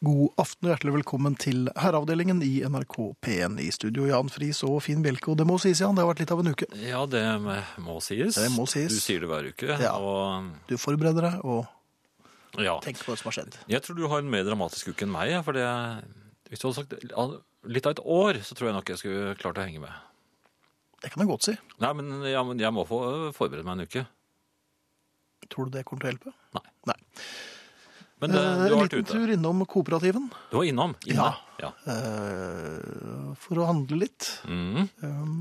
God aften og hjertelig velkommen til Herreavdelingen i NRK P1 i studio. Jan Friis og Finn Bjelke, og det må sies, Jan, det har vært litt av en uke. Ja, det må sies. Det må sies. Du sier det hver uke. Ja. Og, Du forbereder deg og ja. tenker på det som har skjedd. Jeg tror du har en mer dramatisk uke enn meg. For det, hvis du hadde sagt ja, litt av et år, så tror jeg nok jeg skulle klart å henge med. Det kan jeg godt si. Nei, men jeg, men jeg må få øh, forberede meg en uke. Tror du det kommer til å hjelpe? Nei. Nei. Men eh, Eh, du har en vært liten ute. tur innom kooperativen Du var innom. Inne. Ja. eh, for å handle litt. Mm. Um,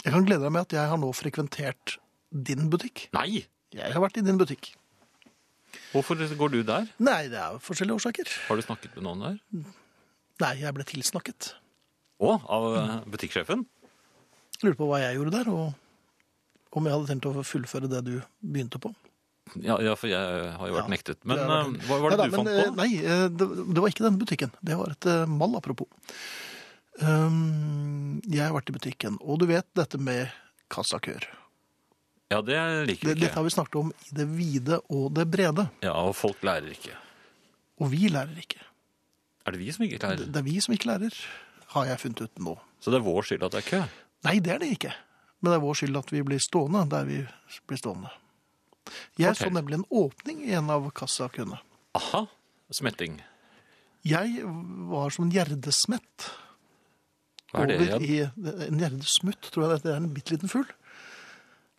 jeg kan glede deg med at jeg har nå frekventert din butikk. Nei! Jeg har vært i din butikk. Hvorfor går du der? Nei, det er forskjellige årsaker. Har du snakket med noen der? Nei, jeg ble tilsnakket. Å, av eh, butikksjefen? Jeg lurte på hva jeg gjorde der, og om jeg hadde tenkt å fullføre det du begynte på. Ja, ja, for jeg har jo vært Ja, nektet. Men det har vært- eh, hva var det Neida, du fant men, eh, på? Nei, eh, det, det var ikke den butikken. Det var et eh, mall, apropos. Um, jeg har vært i butikken, og du vet dette med kassakør. Ja, det liker Det, vi dette ikke. har vi snakket om i det vide og det brede, Ja, og folk lærer ikke. og vi lærer ikke. Er det vi som ikke lærer? Det, det er vi som ikke lærer, har jeg funnet ut nå. Så det er vår skyld at det er kø? Nei, det er det ikke. Men det er vår skyld at vi blir stående der vi blir stående. Jeg Fortell. så nemlig en åpning i en av kassakøene. Aha, smetting. Jeg var som en gjerdesmett. Hva er det over igjen? i eh, en gjerdesmutt, tror jeg det er en bitte liten fugl.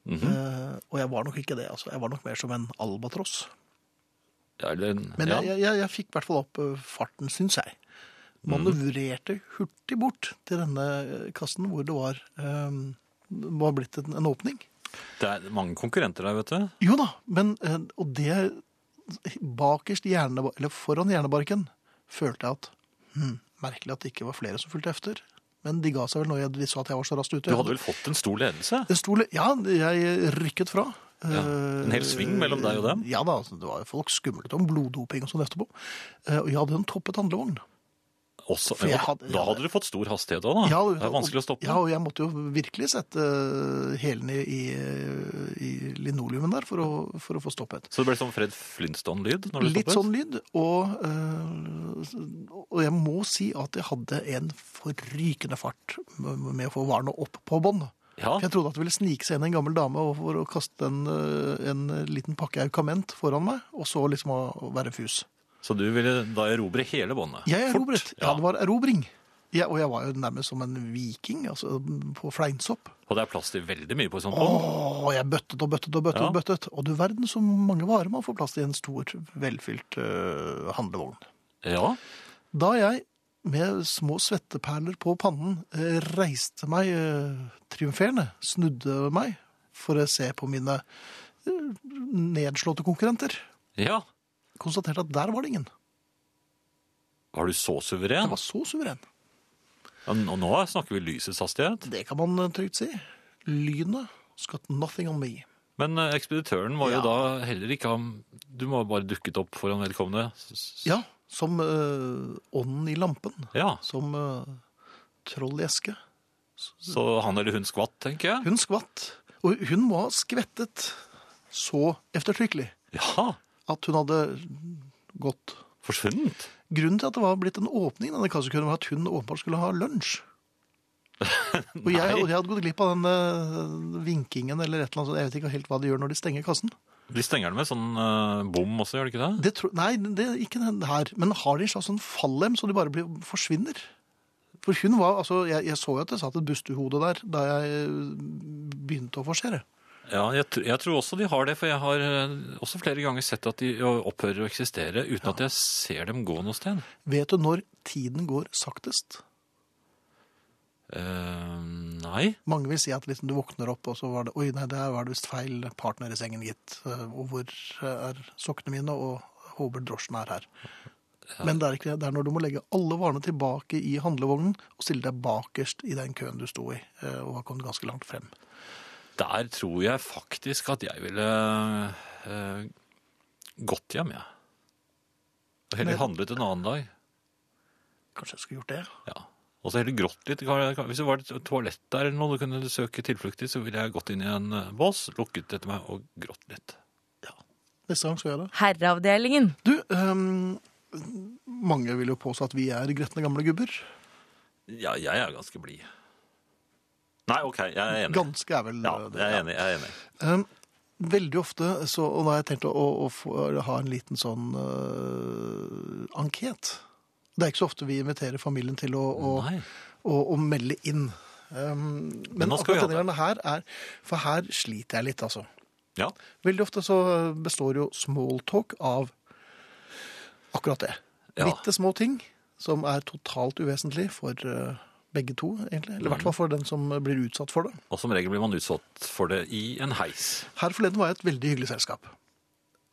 Mhm. Eh, og jeg var nok ikke det, altså. Jeg var nok mer som en albatross. Ja, eller en- Men ja. jeg, jeg, jeg fikk i hvert fall opp eh, farten, syns jeg. Mhm. Manøvrerte hurtig bort til denne kassen hvor det var, eh, var blitt en, en åpning. Det er mange konkurrenter der, vet du. Jo da, men eh, Og det bakerst i hjerne, eller foran hjernebarken følte jeg at hm, Merkelig at det ikke var flere som fulgte efter. Men de ga seg vel når jeg, de så at jeg var så raskt ute. Du hadde vel fått en stor ledelse? Det sto, litt- ja, jeg rykket fra. Eh, Ja, en hel sving mellom deg og dem? Ja da, altså, det var jo folk skumlet om bloddoping og sånn etterpå. Eh, Og jeg hadde en toppet handlevogn. Også, For jeg hadde- da hadde du fått stor hastighet òg, da. Ja, og- Ah, det er vanskelig å stoppe. Ja, og jeg måtte jo virkelig sette eh, hælene i, i linoleumen der for å, for å få stoppet. Så det ble sånn Fred Flintstone-lyd? når du Litt stoppet? sånn lyd, og, eh, og jeg må si at jeg hadde en forrykende fart med med å få varene opp på bånd. Ja, For Jeg trodde at det ville snike seg inn en gammel dame og- for å kaste en, eh, en liten pakke aukament foran meg, og så liksom å å være fus. Så du ville da erobre hele båndet? Jeg Fort. erobret. Ja, Ja. det var erobring. Ja, og jeg var jo nærmest som en viking, altså på fleinsopp. Og det er plass til veldig mye på et sånt bånd? Åh, jeg bøttet og bøttet og bøttet Ja. og bøttet. Og du verden så mange varer man får plass til i en stor, velfylt eh, handlevogn. Ja. Da jeg med små svetteperler på pannen eh, reiste meg eh, triumferende, snudde meg for å se på mine eh, nedslåtte konkurrenter, ja. konstaterte at der var det ingen. Var du så suveren? Jeg var så suveren. Ja, nå nå snakker vi lysets hastighet. Det kan man eh, trygt si. Lynet has got nothing on me. Men eh, ekspeditøren var Ja. jo da heller ikke han Du må ha bare dukket opp foran vedkommende. S- s- Ja, som eh, ånden i lampen, ja. som eh, troll i eske. Så han eller hun skvatt, tenker jeg. Hun skvatt, og hun var skvettet så eftertrykkelig Ja, at hun hadde mm, gått forsvunnet. Grunnen til at det var blitt en åpning i denne kassekøen, var at hun åpenbart skulle ha lunsj. Og jeg, og jeg hadde gått glipp av den eh, vinkingen eller et eller annet. sånt. Jeg vet ikke helt hva de gjør når de stenger kassen. De stenger den med sånn eh, bom også, gjør de ikke det? Det tro, nei, det er ikke den her. Men har de en slags sånn fallem så de bare blir, forsvinner? For hun var, altså, jeg, jeg så jo at det satt et bustehode der da jeg eh, begynte å forsere. Ja, jeg, tr- jeg tror også de har det, for jeg har eh, også flere ganger sett at de eh, opphører å eksistere uten at jeg ser dem gå noe sted. Vet du når tiden går saktest? Eh, nei. Mange vil si at liksom du våkner opp, og så var det Oi, nei, der var det visst feil partner i sengen, gitt. Eh, Og hvor er sokkene mine? Og håper drosjen er her. Men det er, ikke, det Det er når du må legge alle varene tilbake i handlevognen og stille deg bakerst i den køen du sto i, eh, og har kommet ganske langt frem. Der tror jeg faktisk at jeg ville eh, gått hjem, jeg. Og heller Men- handlet en annen dag. Kanskje jeg skulle gjort det? Ja. Og så heller grått litt. Kan- kan- Hvis det var et toalett der eller noe du kunne søke tilflukt i, så ville jeg gått inn i en eh, bås, lukket etter meg og grått litt. Neste gang skal jeg gjøre det. Herreavdelingen. Du, ehm, mange vil jo påstå at vi er gretne gamle gubber. Ja, jeg er ganske blid. Nei, OK, jeg er enig. Ganske er vel eh, Ja, jeg er enig. Jeg er enig. Um, veldig ofte, så, og nå har jeg tenkt å, å få, ha en liten sånn øh, anket. Det er ikke så ofte vi inviterer familien til å, å, Nei. å, å melde inn. Um, men nå skal akkurat vi ha denne gangen her er For her sliter jeg litt, altså. Ja. Veldig ofte så eh, består jo smalltalk av akkurat det. Ja. Bitte små ting som er totalt uvesentlig for øh, begge to, egentlig. Eller i Mm. hvert fall for den som blir utsatt for det. Og som regel blir man utsatt for det i en heis. Her forleden var jeg i et veldig hyggelig selskap.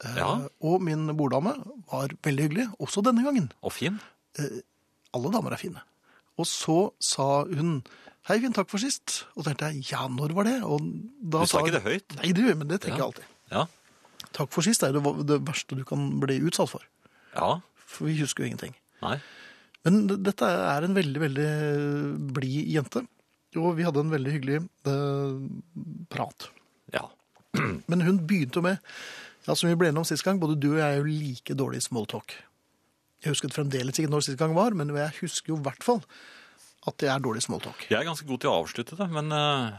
Eh, Ja. Og min borddame var veldig hyggelig, også denne gangen. Eh, Og fin. Alle damer er fine. Og så sa hun 'Hei, Finn, takk for sist'. Og da tenkte jeg 'ja, når var det?' Og da Du sa ikke det høyt? Nei, det gjør jeg, men det tenker Ja. jeg alltid. Ja. 'Takk for sist' er jo det, det verste du kan bli utsatt for. Ja. For vi husker jo ingenting. Nei. Men d- dette er en veldig, veldig blid jente. Og vi hadde en veldig hyggelig eh, prat. Ja. Men hun begynte jo med ja, Som vi ble enige om sist gang, både du og jeg er jo like dårlig i smalltalk. Jeg husket fremdeles ikke når sist gang var, men jeg husker jo i hvert fall at jeg er dårlig i smalltalk. Jeg er ganske god til å avslutte det, men eh,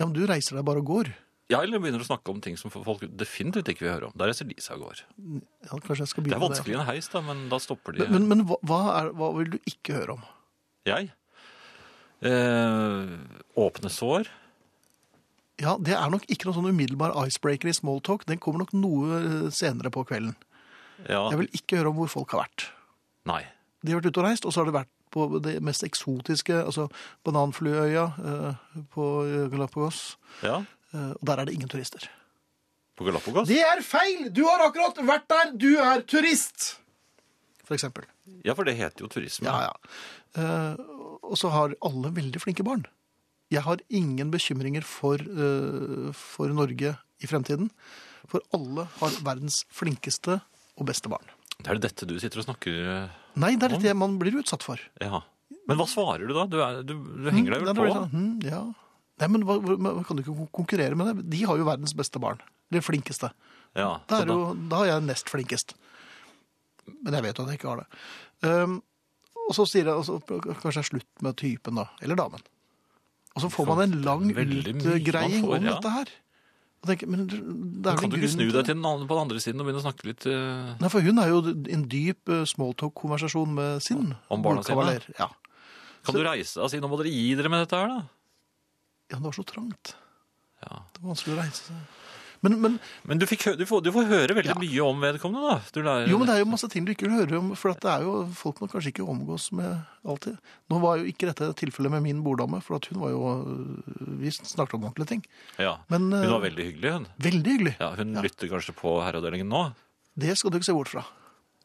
Ja, men du reiser deg bare og går. jeg eller begynner å snakke om ting som folk definitivt ikke vil høre om. Der reiser de seg og går. Ja, kanskje jeg skal Det er begynne med vanskelig i en heis, da, men da stopper de. Men, men, men hva, hva er, hva vil du ikke høre om? Jeg? Eh, åpne sår? Ja, Det er nok ikke noen sånn umiddelbar icebreaker i smalltalk. Den kommer nok noe eh, senere på kvelden. Ja. Jeg vil ikke høre om hvor folk har vært. Nei. De har vært ute og reist, og så har de vært på det mest eksotiske, altså Bananflueøya eh, på Galapagos. Ja. Eh, Og der er det ingen turister. På Galapagos? Det er feil! Du har akkurat vært der! Du er turist! For eksempel. Ja, for det heter jo turisme. Ja, ja. Eh, og så har alle veldig flinke barn. Jeg har ingen bekymringer for, eh, for Norge i fremtiden. For alle har verdens flinkeste og beste barn. Det er dette du sitter og snakker eh, Nei, det er litt det man blir utsatt for. Ja. Men hva svarer du da? Du, er, du, du henger deg Nei, vel det blir på? sånn, hm, ja. Nei, men hva, hva, men Kan du ikke kon- konkurrere med det? De har jo verdens beste barn. De flinkeste. Ja. Da, så er jo, da er jeg nest flinkest. Men jeg vet at jeg ikke har det. Ehm, og så sier jeg og så kanskje det er slutt med typen, da. Eller damen. Og så får man en lang Veldig mye man utgreiing får, om ja. dette her. Og tenker, men det er vel kan en du ikke grunn snu til deg det. til den andre, på den andre siden og begynne å snakke litt eh, Nei, for hun er jo en dyp eh, smalltalk-konversasjon med sin Om barna sine? bordkavaler. Ja. Kan du reise deg og si 'nå må dere gi dere med dette her', da? ja, det var så trangt. Ja. Det var vanskelig å reise seg. Men, men, Men du, fikk, hø- du, får, du får høre veldig Ja. mye om vedkommende, da. Du lærer, jo, men det er jo masse ting du ikke vil høre om, for at det er jo folk man kanskje ikke omgås med alltid. Nå var jo ikke dette tilfellet med min borddame, for at hun var jo øh, Vi snakket om ordentlige ting. ja. Men, eh, Hun var veldig hyggelig, hun. Veldig hyggelig. Ja, hun lytter kanskje på herreavdelingen nå. Det skal du ikke se bort fra.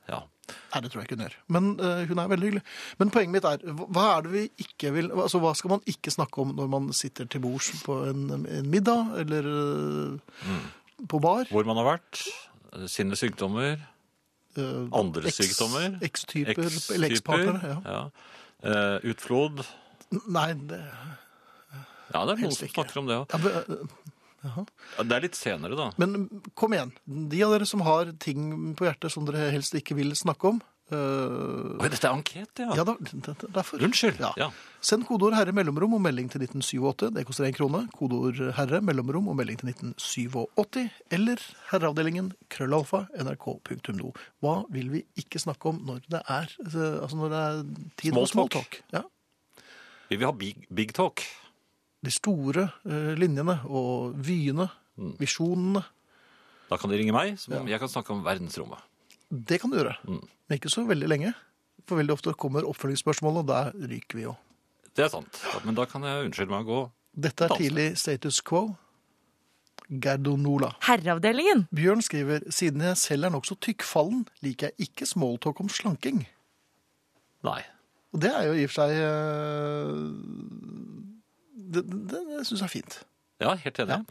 Ja. Nei, det tror jeg ikke hun gjør. Men øh, hun er veldig hyggelig. Men poenget mitt er, hva- hva er det vi ikke vil Altså, hva skal man ikke snakke om når man sitter til bords på en, en middag, eller øh, Mm. på bar? Hvor man har vært, eh, sine sykdommer, Øh, andre eks- sykdommer, Ekstyper, eller ekstyper, ekspartnere. Ja. ja. Eh, utflod. Nei, det Ja, det er noen Helst som ikke. snakker om det òg. ja, men, øh, Det er litt senere, da. Men kom igjen, de av dere som har ting på hjertet som dere helst ikke vil snakke om øh, Oi, dette er anket, ja. ja, da, det- det- derfor. Unnskyld. Ja. Ja. Send kodeord 'herre mellomrom' og melding til 1987. Det koster én krone. Kodeord 'herre mellomrom' og melding til 1987. Eller herreavdelingen krøllalfa nrk.no. Hva vil vi ikke snakke om når det er, øh, altså når det er tid for Smalltalk. smalltalk? Ja. Vi vil ha big, big talk. De store øh, linjene og vyene, visjonene. Da kan de ringe meg, så jeg kan snakke om verdensrommet. Det kan du gjøre, men ikke så veldig lenge. For veldig ofte kommer oppfølgingsspørsmålet, og der ryker vi jo. Det er sant. Men da kan jeg unnskylde meg å gå. Dette er Dansen. tidlig status quo. Gerdonola. Herreavdelingen. Bjørn skriver siden jeg selv er nokså tykkfallen, liker jeg ikke smalltalk om slanking. Nei. Og det er jo i og for seg eh, Det, det, det syns jeg er fint. Ja, helt enig.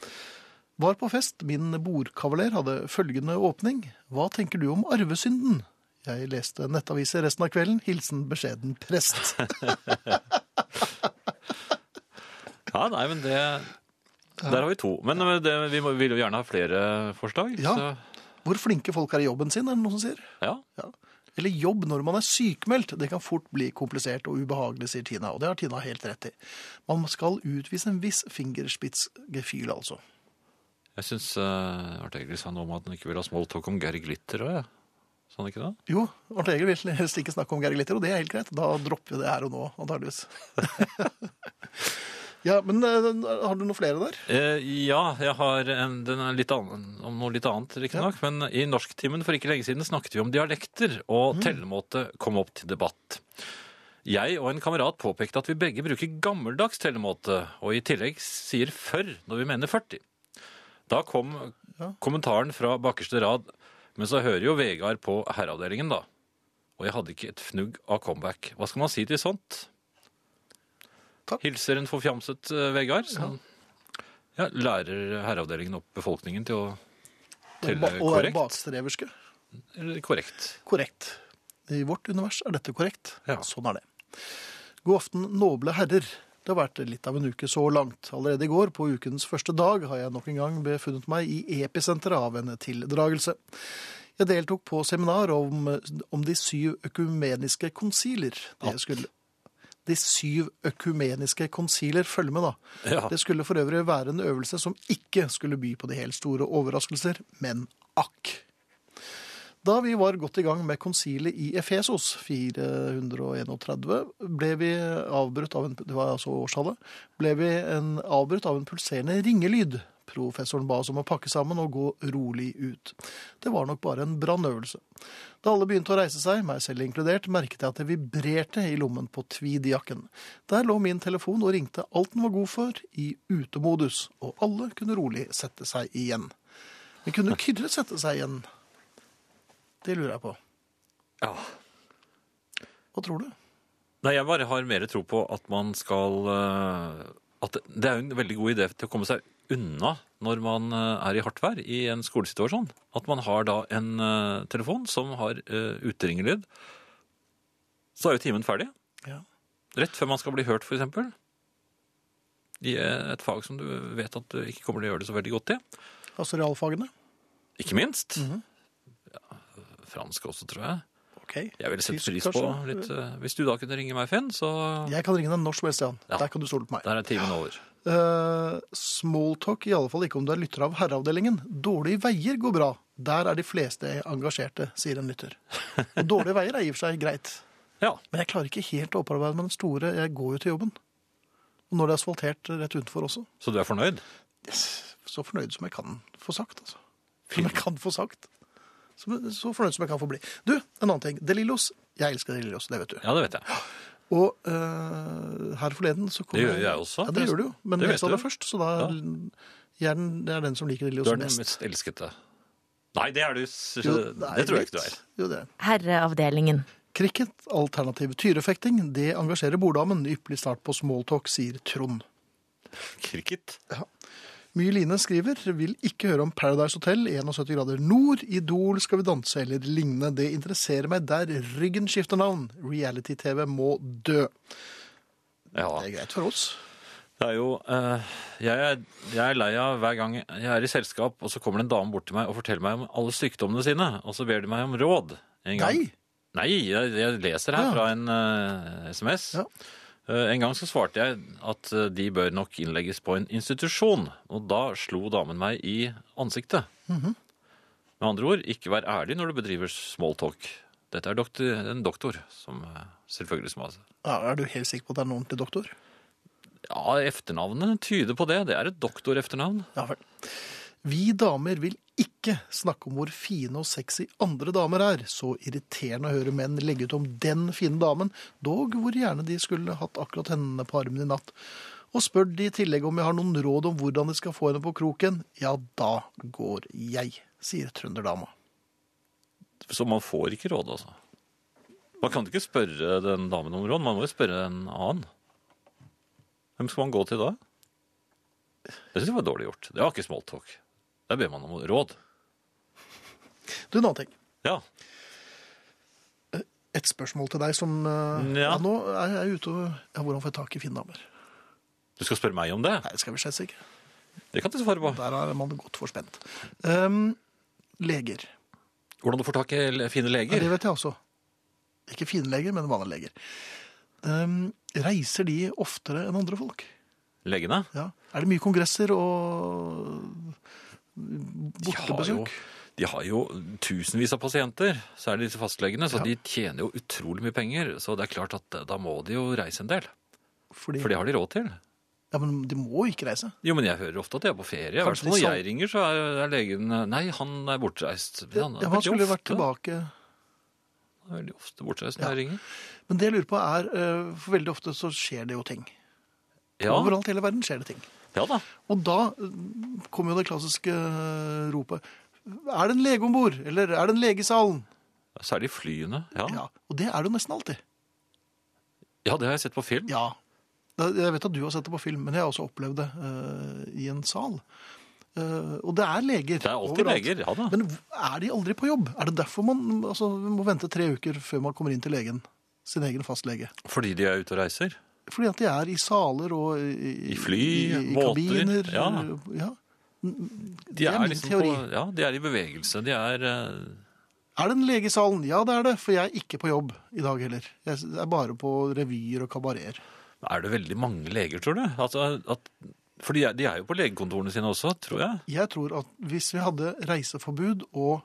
Var på fest. Min bordkavaler hadde følgende åpning. Hva tenker du om arvesynden? Jeg leste nettaviser resten av kvelden. Hilsen beskjeden prest. Ja, nei, men det Der har vi to. Men eh, det, vi må, vil jo gjerne ha flere forslag. Ja. Så, Hvor flinke folk er i jobben sin, er det noen som sier. ja. Ja. eller jobb når man er sykmeldt, det kan fort bli komplisert og ubehagelig, sier Tina. Og det har Tina helt rett i. Man skal utvise en viss fingerspitzgefühl, altså. Jeg syns uh, Art Egil sa noe om at han ikke vil ha smalltalk om Geir Glitter òg, jeg. Sa han ikke det? Jo, Arnt Egil vil helst ikke snakke om Geir Glitter, og det er helt greit. Da dropper vi det her og nå, antageligvis. ja, men eh, har du noen flere der? Eh, ja, jeg har en, den er litt annen, om noe litt annet, riktignok. Men i norsktimen for ikke lenge siden snakket vi om dialekter, og tellemåte kom opp til debatt. Jeg og en kamerat påpekte at vi begge bruker gammeldags tellemåte, og i tillegg sier 'førr' når vi mener 40. Da kom Ja. kommentaren fra bakerste rad, men så hører jo Vegard på herreavdelingen, da. Og jeg hadde ikke et fnugg av comeback. Hva skal man si til sånt? Takk. Hilser en forfjamset eh, Vegard. Som, ja, lærer herreavdelingen opp befolkningen til å telle Ba- Å være korrekt? bakstreverske. Eller korrekt. Korrekt. I vårt univers er dette korrekt. Ja. Sånn er det. God aften, noble herrer. Det har vært litt av en uke så langt. Allerede i går, på ukens første dag, har jeg nok en gang befunnet meg i episenteret av en tildragelse. Jeg deltok på seminar om, om de syv økumeniske konsiler. Det skulle... De syv økumeniske konsiler, følg med da. Ja. Det skulle for øvrig være en øvelse som ikke skulle by på de helt store overraskelser, men akk. Da vi var godt i gang med konsilet i Efesos 431, ble vi avbrutt av en, det var altså årstallet, ble vi en, avbrutt av en pulserende ringelyd. Professoren ba oss om å pakke sammen og gå rolig ut. Det var nok bare en brannøvelse. Da alle begynte å reise seg, meg selv inkludert, merket jeg at det vibrerte i lommen på tweedjakken. Der lå min telefon og ringte alt den var god for, i utemodus, og alle kunne rolig sette seg igjen. Men kunne Kyrre sette seg igjen? Det lurer jeg på. Ja. Hva tror du? Nei, jeg bare har mer tro på at man skal eh, At det- det er jo en veldig god idé til å komme seg unna når man eh, er i hardt vær i en skolesituasjon. At man har da en eh, telefon som har eh, uteringelyd. Så er jo timen ferdig. Ja. Rett før man skal bli hørt, f.eks. I eh, et fag som du vet at du ikke kommer til å gjøre det så veldig godt i. Altså realfagene? Ikke minst. Mhm. ja, fransk også, tror jeg. Ok. Jeg ville sett Tysk, pris på kanskje? litt eh, Hvis du da kunne ringe meg, Finn, så Jeg kan ringe deg når som helst, Jan. Ja. Der kan du stole på meg. Der er timen over. Uh, Smalltalk, i alle fall ikke om du er lytter av herreavdelingen. Dårlige veier går bra. Der er de fleste engasjerte, sier en lytter. Og dårlige veier er i og for seg greit. Ja. Men jeg klarer ikke helt å opparbeide meg den store. Jeg går jo til jobben. Og når det er asfaltert rett utenfor også. Så du er fornøyd? Yes, så fornøyd som jeg kan få sagt, altså. Som jeg kan få sagt. Så, så fornøyd som jeg kan få bli. Du, en annen ting. Delillos. Jeg elsker Delillos, det vet du. Ja, det vet jeg. Og eh, her forleden så kom Det gjør jeg også. Ja, det gjør du jo. Men Det jeg vet sa du. det først, så da jeg er den, jeg er den som liker Du Delillos er den mest. mest elskete. Nei, det er du s- nei, Det tror jeg ikke du er. litt. Jo, det er. Herreavdelingen. Cricket, alternativ tyrefekting, det engasjerer borddamen. Ypperlig start på smalltalk, sier Trond. Cricket. Myeline skriver vil ikke høre om Paradise Hotel, 71 grader nord, Idol, Skal vi danse eller lignende. Det interesserer meg der ryggen skifter navn. Reality-TV må dø. Ja. Det er greit for oss. Det er jo eh, jeg, er, jeg er lei av hver gang jeg er i selskap, og så kommer det en dame bort til meg og forteller meg om alle sykdommene sine, og så ber de meg om råd. En gang. Nei! Nei, jeg, jeg leser her Ja. fra en eh, SMS. Ja. Eh, en gang så svarte jeg at eh, de bør nok innlegges på en institusjon, og da slo damen meg i ansiktet. Mhm. Med andre ord, ikke vær ærlig når du bedriver smalltalk. Dette er doktor, en doktor som eh, selvfølgelig som har Ja, er du helt sikker på at det er en ordentlig doktor? Ja, efternavnet tyder på det. Det er et doktorefternavn. Ja vel. Vi damer vil ikke snakke om hvor fine og sexy andre damer er. Så irriterende å høre menn legge ut om den fine damen, dog hvor gjerne de skulle hatt akkurat henne på armen i natt. Og spør de i tillegg om jeg har noen råd om hvordan de skal få henne på kroken, ja, da går jeg, sier trønderdama. Så man får ikke råd, altså. Man kan ikke spørre den damen om råd, man må jo spørre en annen. Hvem skal man gå til da? Det synes jeg var dårlig gjort. Det var ikke smalltalk. Der ber man om råd. Du, en annen ting. Ja, Et spørsmål til deg som eh, ja. Ja. Nå er jeg ute og ja, Hvordan får jeg tak i fine damer? du skal spørre meg om det. Nei, det skal vi slett ikke. Det kan du svare på. Der er man godt forspent. Um, leger. Hvordan du får tak i le- fine Ja, leger. det vet jeg også. Ikke finleger, men vanlige leger. Ehm, reiser de oftere enn andre folk? Legene? Ja. Er det mye kongresser og bortebesøk? de har jo tusenvis av pasienter, særlig disse fastlegene, så Ja. de tjener jo utrolig mye penger. Så det er klart at da må de jo reise en del. Fordi, For det har de råd til. Ja, men de må jo ikke reise. Jo, men jeg hører ofte at de er på ferie. I hvert Kanskje fall når de sa- jeg ringer, så er, er legen Nei, han er bortreist. Men Ja, Han er han skulle veldig, jo vært ofte, tilbake. han er veldig ofte bortreist når jeg ringer. Men det jeg lurer på er, eh, for veldig ofte så skjer det jo ting. Ja, Overalt i hele verden skjer det ting. ja da. Og da eh, kommer jo det klassiske eh, ropet. Er det en lege om bord? Eller er det en lege i salen? Særlig flyene. Ja. Ja, og det er det jo nesten alltid. ja, det har jeg sett på film. Ja. Da- Jeg vet at du har sett det på film, men jeg har også opplevd det eh, i en sal. Eh, og det er leger. Det er alltid overalt. leger. Ja da. Men hv- er de aldri på jobb? Er det derfor man altså, må vente tre uker før man kommer inn til legen? Sin egen fastlege. Fordi de er ute og reiser. Fordi at de er i saler og i, I fly, i båter, kabiner. eh, ja. ja. De er min teori. liksom På, ja, de er i bevegelse. De er eh, Er det en lege i salen? Ja, det er det, for jeg er ikke på jobb i dag heller. Jeg er bare på revyer og kabareter. Er det veldig mange leger, tror du? Altså, at, for de er, de er jo på legekontorene sine også, tror jeg. Jeg tror at hvis vi hadde reiseforbud og,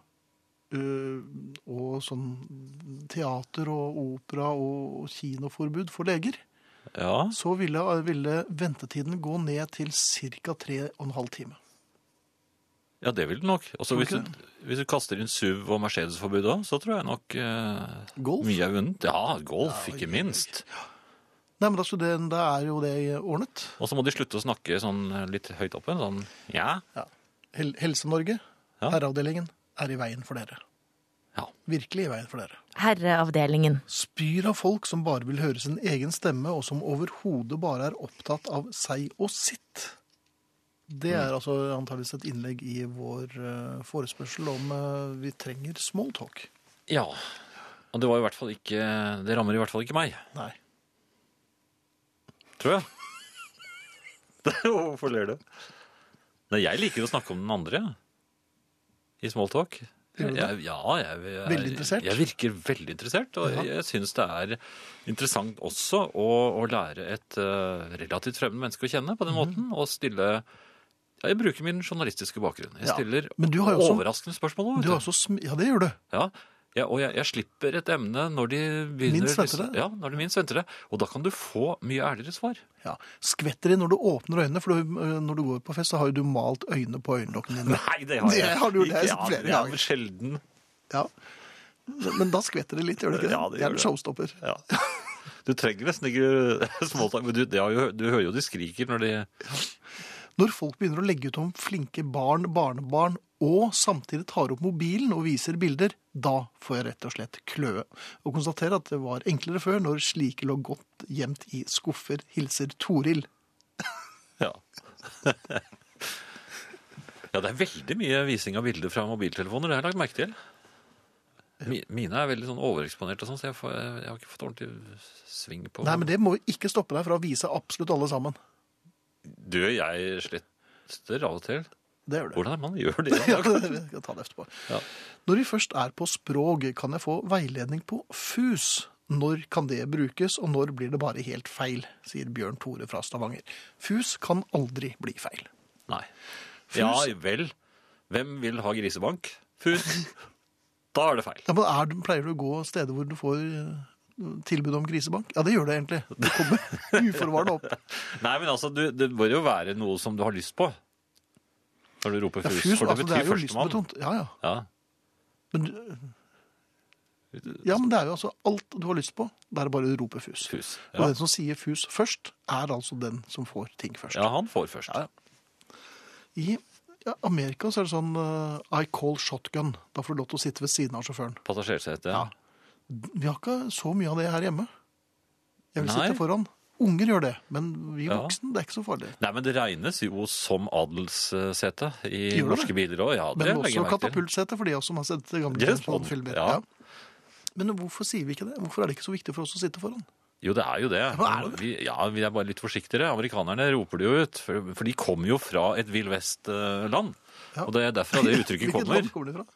øh, og sånn teater og opera og kinoforbud for leger, Ja, så ville, ville ventetiden gå ned til ca. 3,5 timer. ja det vil det nok. Og så Tror hvis, du du- hvis du kaster inn SUV og Mercedes-forbudet òg, så tror jeg nok eh, Golf? mye er vunnet. Ja, golf, Ja, ikke oi, minst. Nei, men altså, det, da er jo det ordnet. Og så må de slutte å snakke sånn litt høyt oppe. Sånn ja. Hel Helse-Norge, Ja. herreavdelingen, er i veien for dere. ja. Virkelig i veien for dere. Herreavdelingen. Spyr av folk som bare vil høre sin egen stemme, og som overhodet bare er opptatt av seg og sitt. Det er altså antageligvis et innlegg i vår eh, forespørsel om eh, vi trenger small talk. Ja. Og det var i hvert fall ikke Det rammer i hvert fall ikke meg, Nei. tror jeg. Hvorfor ler du? Nei, jeg liker å snakke om den andre, jeg. I smalltalk. Gjør du det? Jeg, ja, jeg, jeg, Veldig interessert? Jeg virker veldig interessert, og Ja. jeg syns det er interessant også å, å lære et eh, relativt fremmed menneske å kjenne på den Mhm. måten, og stille ja, Jeg bruker min journalistiske bakgrunn. Jeg Ja, stiller men du har jo også- overraskende spørsmål. også, vet Du du. er også sm ja, det gjør du. Ja, ja og jeg, jeg slipper et emne når de begynner Minst venter det. Ja, når de minst venter det. Og da kan du få mye ærligere svar. Ja. Skvetter inn når du åpner øynene, for du, eh, når du går på fest, så har jo du malt øynene på øyelokkene dine. Nei, Det har du gjort, det har jeg sett Ja, flere det er ganger. Sjelden. Ja. Men da skvetter det litt, gjør det ikke det? Ja, det det gjør er en det. showstopper. Ja. Du trenger nesten ikke småtak, men du, det har jo, du hører jo de skriker når de Når folk begynner å legge ut om flinke barn, barnebarn, og samtidig tar opp mobilen og viser bilder, da får jeg rett og slett kløe. Og konstatere at det var enklere før, når slike lå godt gjemt i skuffer, hilser Toril. Ja. Ja, det er veldig mye vising av bilder fra mobiltelefoner. Det har jeg lagt merke til. Mi- Mine er veldig sånn overeksponerte, og sånn, så jeg, får, jeg har ikke fått ordentlig sving på Nei, men det må jo ikke stoppe deg fra å vise absolutt alle sammen. Du, jeg sletter av og til. Det gjør det. Hvordan er man gjør det? Ja, vi kan ta det etterpå. Ja. Når vi først er på språk, kan jeg få veiledning på FUS. Når kan det brukes, og når blir det bare helt feil, sier Bjørn Tore fra Stavanger. FUS kan aldri bli feil. Nei. Fus. Ja vel. Hvem vil ha grisebank? Fus. Da er det feil. Ja, men er, Pleier du å gå steder hvor du får eh, tilbud om grisebank? Ja, det gjør det egentlig. Det kommer uforvarende opp. Nei, men altså, du, det bør jo være noe som du har lyst på. Når du roper Ja, fus, fus, for altså, det det betyr er jo førstemann. lystbetont. Ja, ja. Ja. Men, du- ja, men det er jo altså alt du har lyst på, det er bare å rope fus. Fus. Og Ja. den som sier fus først, er altså den som får ting først. ja, han får først. Ja, I ja, Amerika så er det sånn eh, I call shotgun. Da får du lov til å sitte ved siden av sjåføren. Passasjersete. Ja. Vi har ikke så mye av det her hjemme. Jeg vil Nei. sitte foran. Unger gjør det, men vi Ja. voksne, det er ikke så farlig. Nei, men det regnes jo som adelssete i Gjør det? norske biler òg. Ja, det Men legger også jeg merke til. katapultsete for de også som har sett gamle James James Bond-filmer. Bond, ja. Men hvorfor sier vi ikke det? Hvorfor er det ikke så viktig for oss å sitte foran? Jo, det er jo det. men er det Vi, ja, vi er bare litt forsiktigere. Amerikanerne roper det jo ut, for, for de kommer jo fra et vill vest-land. Ja. Og det er derfra det uttrykket Hvilket kommer. land kommer det fra?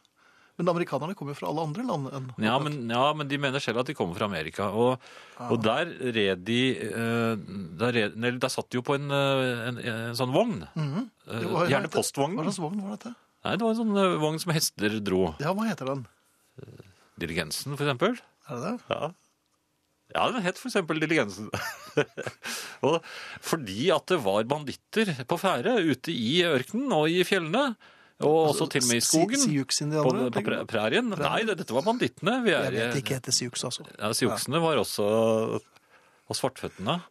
Men amerikanerne kommer jo fra alle andre land enn Ja men, ja, men de mener selv at de kommer fra Amerika. Og, og der red de eh, der, red, eller der satt de jo på en, eh, en, en sånn vogn. Eh, Jo, hva Gjerne heter- postvogn. Hva slags vogn var dette? Nei, det var en sånn eh, vogn som hester dro. Ja, hva heter den? Diligensen, for eksempel. Er det det? Ja. ja, den het for eksempel Diligensen. og fordi at det var banditter på ferde ute i ørkenen og i fjellene, og også til Altså, og med i skogen. På, Siux-indianere? på præ- prærien? Nei, det- dette var bandittene. Vi er, eh, Jeg vet ikke heter Siux, altså. Ja, Sioksene var også Og svartføttene.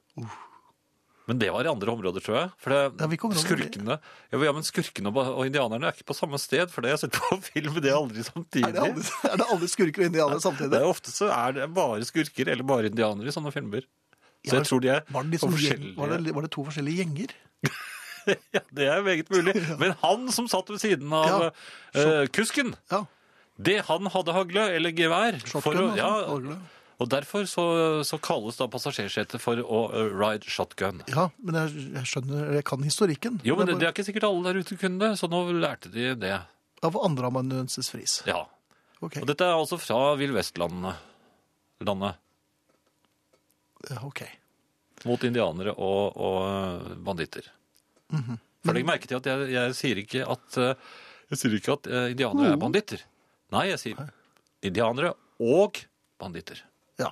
Men det var i andre områder, tror jeg. For det, Ja, hvilke områder? skurkene, ja, men- ja, men skurkene og, og indianerne er ikke på samme sted, for det har jeg sett på film, men det er aldri samtidig. Er det alle, er det alle skurker og indianere Det samtidig? er Ofte så er det bare skurker eller bare indianere i sånne filmer. Så jeg tror de er Var det, på liksom gjeng, forskjellige var, det, var det to forskjellige gjenger? Ja, det er meget mulig. Men han som satt ved siden av eh, kusken, Ja. det han hadde hagle eller gevær for Shotgun å- og ja, sånn, hagle. Og derfor så, så kalles da passasjersetet for å eh, ride shotgun. Ja, men jeg, jeg skjønner, jeg kan historikken. Jo, men det, Jeg det er ikke sikkert alle der ute kunne det, så nå lærte de det. bare- Av andreamanuensis Friis. Ja. Ok. Og dette er altså fra Vill Vest-landene. Landet. Ja, ok. Mot indianere og, og banditter. For legg merke til at jeg, jeg sier ikke at, eh, jeg sier ikke at eh, indianere er banditter. Nei, jeg sier indianere og banditter. Ja.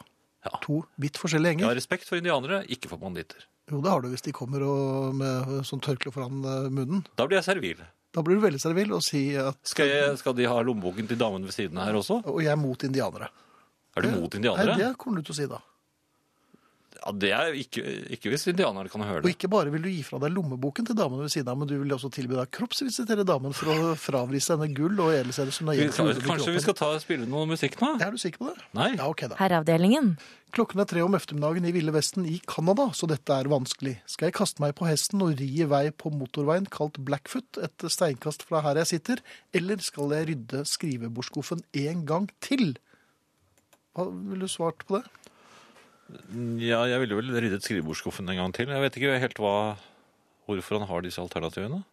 Ja. To vidt forskjellige Jeg gjenger. har respekt for indianere, ikke for banditter. Jo, det har du hvis de kommer og, med sånn tørkle foran eh, munnen. Da blir jeg servil. Da blir du veldig servil og si at Skal, jeg, skal de ha lommeboken til damen ved siden av her også? Og jeg er mot indianere. Er du mot Nei, indianere? det kommer du til å si da. Ja, det er ikke, ikke hvis indianere kan høre Og det. ikke bare vil du gi fra deg lommeboken til damen ved siden av, men du vil også tilby deg kroppsvisitere damen for å fravrise henne gull og edelstener som Vi, nøye kanskje vi skal ta, spille noe musikk nå? Er du sikker på det? Nei? Ja, ok da. Herreavdelingen. Klokken er tre om eftermiddagen i Ville Vesten i Canada, så dette er vanskelig. Skal jeg kaste meg på hesten og ri i vei på motorveien kalt Blackfoot, et steinkast fra her jeg sitter, eller skal jeg rydde skrivebordskuffen en gang til? Hva ville du svart på det? Ja, jeg ville vel ryddet skrivebordsskuffen en gang til. Jeg vet ikke helt hva, hvorfor han har disse alternativene.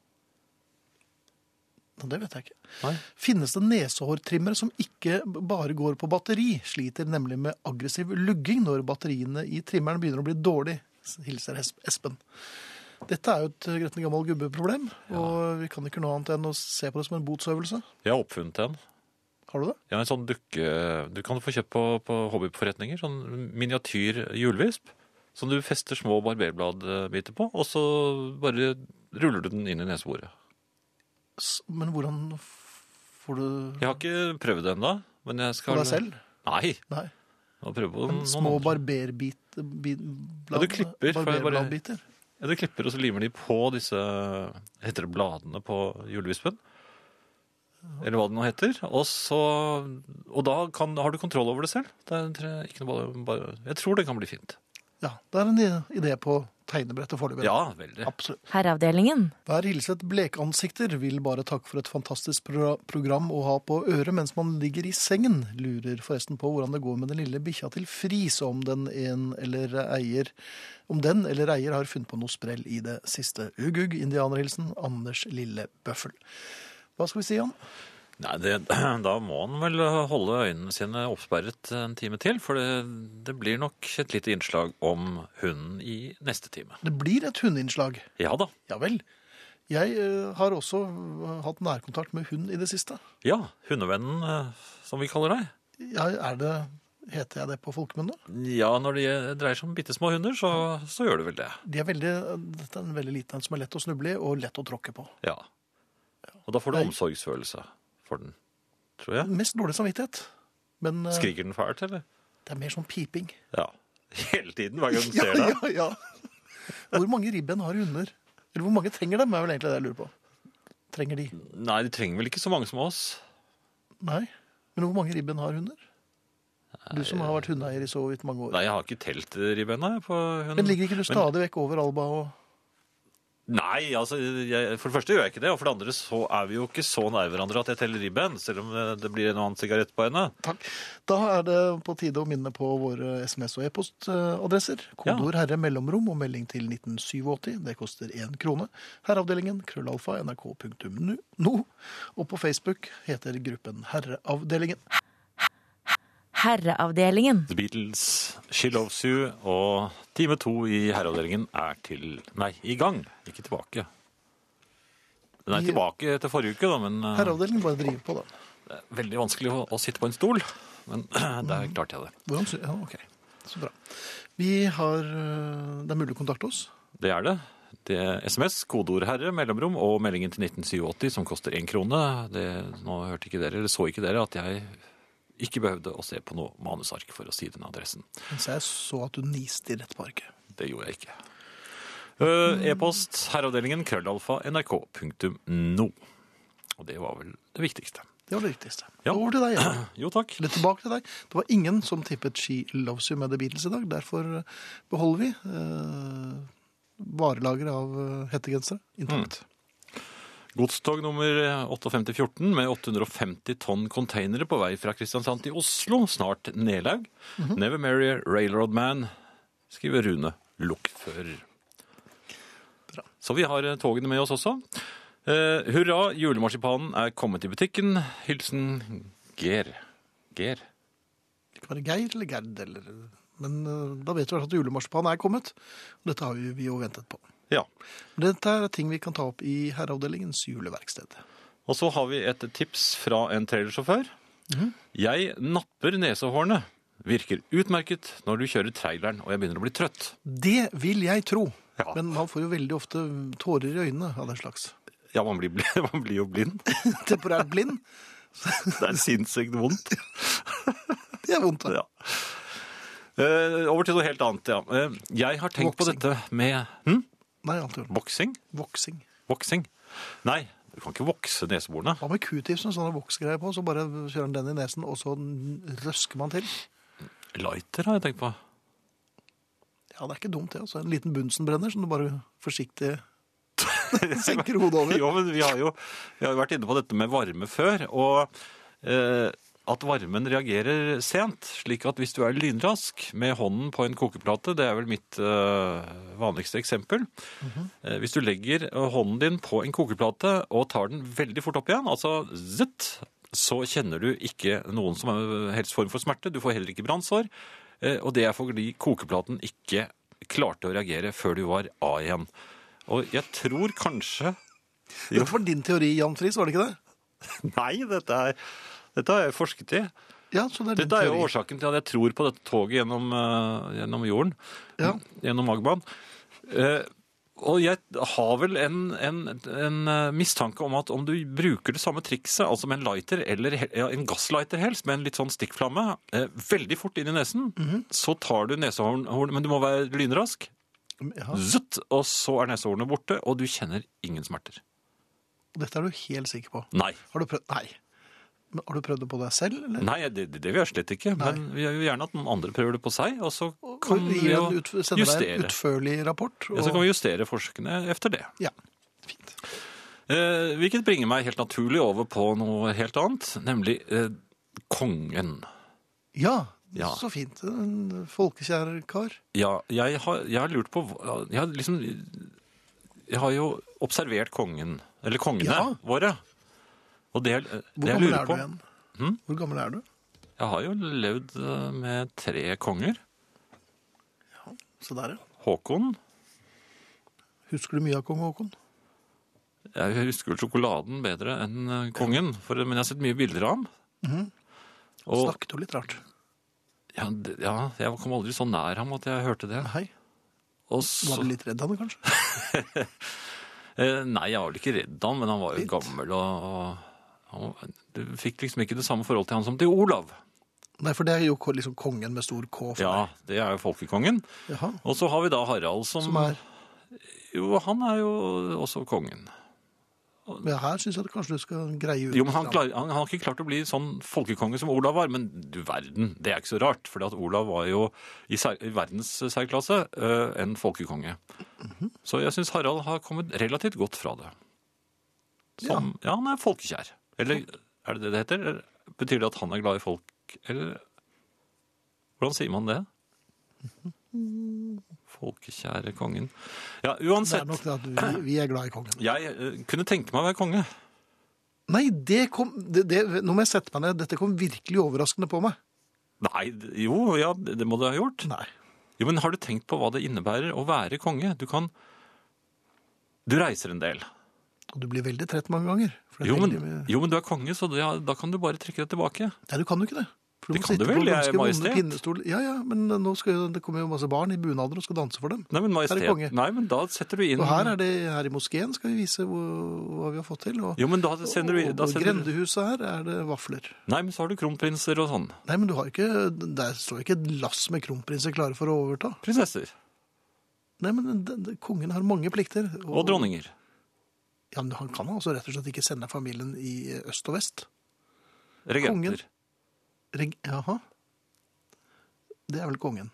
Nei, Det vet jeg ikke. Nei. Finnes det nesehårtrimmer som ikke bare går på batteri? Sliter nemlig med aggressiv lugging når batteriene i trimmeren begynner å bli dårlig, hilser Es- Espen. Dette er jo et eh, gretten gammel gubbe-problem, og vi kan ikke noe annet enn å se på det som en botsøvelse. Jeg har oppfunnet en. Har du det? Jeg har en sånn dukke... Du kan få kjøpt på, på hobbyforretninger, sånn miniatyr hjulvisp, som du fester små barberbladbiter på, og så bare ruller du den inn i nesebordet. S- Men hvordan f- får du Jeg har ikke prøvd det ennå, men jeg skal For deg selv? Nei. Nei. jeg må Prøve på noen Små andre. barberbit... bit- Ja, du klipper, for jeg bare- barberbladbiter. Ja, du klipper, og så limer de på disse heter det bladene på julevispen. Eller hva det nå heter. Og, så, og da kan, har du kontroll over det selv. Det er, tror jeg, ikke noe, bare- bare, jeg tror det kan bli fint. Ja, det er en i- idé på tegnebrettet foreløpig. Ja, veldig. Absolutt. Herreavdelingen. Vær hilset blekansikter, vil bare takke for et fantastisk pro program å ha på øret mens man ligger i sengen. Lurer forresten på hvordan det går med den lille bikkja til Friis, og om den en eller eier om den eller eier har funnet på noe sprell i det siste. Ugugg, indianerhilsen Anders Lille Bøffel. Hva skal vi si, Jan? Nei, det, da må han vel holde øynene sine oppsperret en time til, for det, det blir nok et lite innslag om hunden i neste time. Det blir et hundeinnslag. Ja da. Ja vel. Jeg eh, har også eh, hatt nærkontakt med hund i det siste. Ja, hundevennen, eh, som vi kaller deg. Ja, er det Heter jeg det på folkemunne? Ja, når det dreier seg om bitte små hunder, så, så gjør du vel det. De er veldig, dette er en veldig liten en som er lett å snuble i, og lett å tråkke på. Ja. Og da får du Nei. omsorgsfølelse for den, tror jeg. Mest dårlig samvittighet. Men eh, Skriker den fælt, eller? det er mer sånn piping. Ja. Hele tiden, hver gang den Ja, ser deg. ja, ja. Hvor mange ribben har hunder? Eller hvor mange trenger dem, er vel egentlig det jeg lurer på. Trenger de? Nei, de trenger vel ikke så mange som oss. Nei. Men hvor mange ribben har hunder? Du som har vært hundeeier i så vidt mange år. Nei, jeg har ikke telt ribbeina jeg, på hunden. Men ligger ikke du stadig vekk over Alba og Nei, altså, jeg, for det første gjør jeg ikke det, og for det andre så er vi jo ikke så nær hverandre at jeg teller ribben, selv om eh, det blir en og annen sigarett på henne. Takk. Da er det på tide å minne på våre SMS- og e-postadresser. Kodeord 'herre mellomrom' og melding til 1987. Det koster én krone. Herreavdelingen krøllalfa nrk.no. Og på Facebook heter gruppen Herreavdelingen. Herreavdelingen. The Beatles, She Loves You, og time to i herreavdelingen er til Nei, i gang, ikke tilbake. Den er I- tilbake etter forrige uke, da, men eh, Herreavdelingen bare driver på, da. det er veldig vanskelig å, å sitte på en stol. Men der klarte jeg det. Hvordan sy ja, ok. Så bra. Vi har øh, Det er mulig å kontakte oss. Det er det. Det er SMS, kodeord 'herre', mellomrom og meldingen til 1987 som koster én krone. Det, nå hørte ikke dere, eller så ikke dere, at jeg ikke behøvde å se på noe manusark for å si den adressen. Mens jeg så at du niste i rett på arket. Det gjorde jeg ikke. Eh, E-post herreavdelingen krøllalfa nrk.no. Og det var vel det viktigste. Det var det viktigste. Ja. Over til deg. Jan. Jo takk. Eller tilbake til deg. Det var ingen som tippet She Loves You med The Beatles i dag. Derfor eh, beholder vi øh, varelageret av øh, hettegensere intakt. Mm. Godstog nummer 5814 med 850 tonn containere på vei fra Kristiansand til Oslo, snart Nelaug. Never marry a railroad man, skriver Rune Lokfører. Bra. Så vi har eh, togene med oss også. Eh, hurra, julemarsipanen er kommet i butikken. Hilsen Ger. Ger? Det kan være Geir eller Gerd eller Men øh, da vet vi i hvert fall at julemarsipan er kommet. Og dette har vi vi jo ventet på. Ja. Dette er ting vi kan ta opp i Herreavdelingens juleverksted. Og så har vi et tips fra en trailersjåfør. Jeg napper nesehårene. Virker utmerket når du kjører traileren og jeg begynner å bli trøtt. Det vil jeg tro. Ja. Men man får jo veldig ofte tårer i øynene av den slags. Ja, man blir, bli- man blir jo blind. Temporært blind. Det er sinnssykt vondt. Det er vondt. da. Ja. Eh, over til noe helt annet, ja. Eh, jeg har tenkt Voksing. på dette med hm? Nei, annet gjør det. Voksing? Voksing. Voksing? Nei, du kan ikke vokse neseborene. Hva med Q-tipsen? Sånne voksgreier på. Så bare kjører man den i nesen, og så røsker man til. Lighter har jeg tenkt på. Ja, det er ikke dumt, det. altså. En liten bunsenbrenner som du bare forsiktig senker hodet over. Jo, men vi har jo, vi har jo vært inne på dette med varme før, og eh, at varmen reagerer sent, slik at hvis du er lynrask med hånden på en kokeplate, det er vel mitt eh, vanligste eksempel, eh, hvis du legger eh, hånden din på en kokeplate og tar den veldig fort opp igjen, altså zitt, så kjenner du ikke noen som eh, helst form for smerte, du får heller ikke brannsår, eh, og det er fordi kokeplaten ikke klarte å reagere før du var av igjen. Og jeg tror kanskje Dette var din teori, Jan Friis, var det ikke det? Nei, dette, er, dette har jeg forsket i. Ja, så det er din Dette er jo teori. årsaken til at jeg tror på dette toget gjennom, eh, gjennom jorden. Ja. Gjennom magmaen. Eh, og jeg har vel en, en, en eh, mistanke om at om du bruker det samme trikset, altså med en lighter, eller he- ja, en gasslighter helst, med en litt sånn stikkflamme, eh, veldig fort inn i nesen, Mhm. så tar du nesehorn, horn- men du må være lynrask, Ja, zutt, og så er nesehornet borte, og du kjenner ingen smerter. dette er du helt sikker på. Nei. Har du prøvd Nei. Men har du prøvd det på deg selv, eller? Nei, det, det vil jeg slett ikke. Men vi vil gjerne at noen andre prøver det på seg, og så kan Og vi gir jo en ut, sender deg en justere. utførlig rapport. Ja, så kan vi justere forskene efter det. Ja, fint. Eh, hvilket bringer meg helt naturlig over på noe helt annet, nemlig eh, kongen. Ja, Ja. så fint. En folkekjær kar. Ja, jeg har, jeg har lurt på hva- Jeg har liksom Jeg har jo observert kongen, eller kongene Ja. våre. Og det, Hvor det jeg gammel lurer er du på Hm? igjen? Hvor gammel er du? Jeg har jo levd eh, med tre konger. Så der, ja. Håkon. Husker du mye av kong Håkon? Jeg husker vel sjokoladen bedre enn eh, kongen, for, men jeg har sett mye bilder av ham. Mhm. Og Snakket jo litt rart. ja, d- ja, jeg kom aldri så nær ham at jeg hørte det. Hei, Og var så, du litt redd av det, kanskje? eh, nei, jeg var vel ikke redd ham, men han var jo Litt. gammel. Og, og, han var- du fikk liksom ikke det samme forhold til han som til Olav. Nei, for det er jo ko- liksom kongen med stor K. For Ja, det er jo folkekongen. meg. Jaha, Og så har vi da Harald som, som er Jo, han er jo også kongen. Men her syns jeg at kanskje du skal greie ut Jo, men han, litt grann. klar, han, han har ikke klart å bli sånn folkekonge som Olav var, men du verden, det er ikke så rart. For Olav var jo i, sær, i verdens særklasse eh, en folkekonge. Så jeg syns Harald har kommet relativt godt fra det. Som, ja. han er folkekjær. Eller er det det det heter? Eller Betyr det at han er glad i folk, eller Hvordan sier man det? Folkekjære kongen. Ja, Det uansett. er nok det at vi, vi er glad i kongen. Jeg eh, kunne tenke meg å være konge. Nei, det kom det, det, Nå må jeg sette meg ned. Dette kom virkelig overraskende på meg. Nei, d- jo, ja, det det må du ha gjort. Nei. Jo, men har du tenkt på hva det innebærer å være konge? Du kan Du reiser en del. Og du blir veldig trett mange ganger. for det er Jo men, veldig mye- jo, men du er konge, så det, da kan du bare trekke deg tilbake. Nei, du kan jo ikke det. For Det må kan sitte du vel, på jeg er ganske vonde majestet. pinnestol. Ja, ja, men nå skal jo, det kommer jo masse barn i bunader og skal danse for dem. Nei, men majestet Her er konge. Nei, men da setter du inn Og her, er det, her i moskeen skal vi vise hvor, hva vi har fått til. Og, Jo, men da sender du og inn da på sender du... grendehuset her er det vafler. Nei, men så har du kronprinser og sånn. Nei, men du har ikke, der står ikke et lass med kronprinser klare for å overta. Prinsesser. Nei, men den, den, kongen har mange plikter. Og dronninger. Ja, men han kan altså rett og slett ikke sende familien i eh, øst og vest. Regenter. Reg, jaha. Det er vel kongen.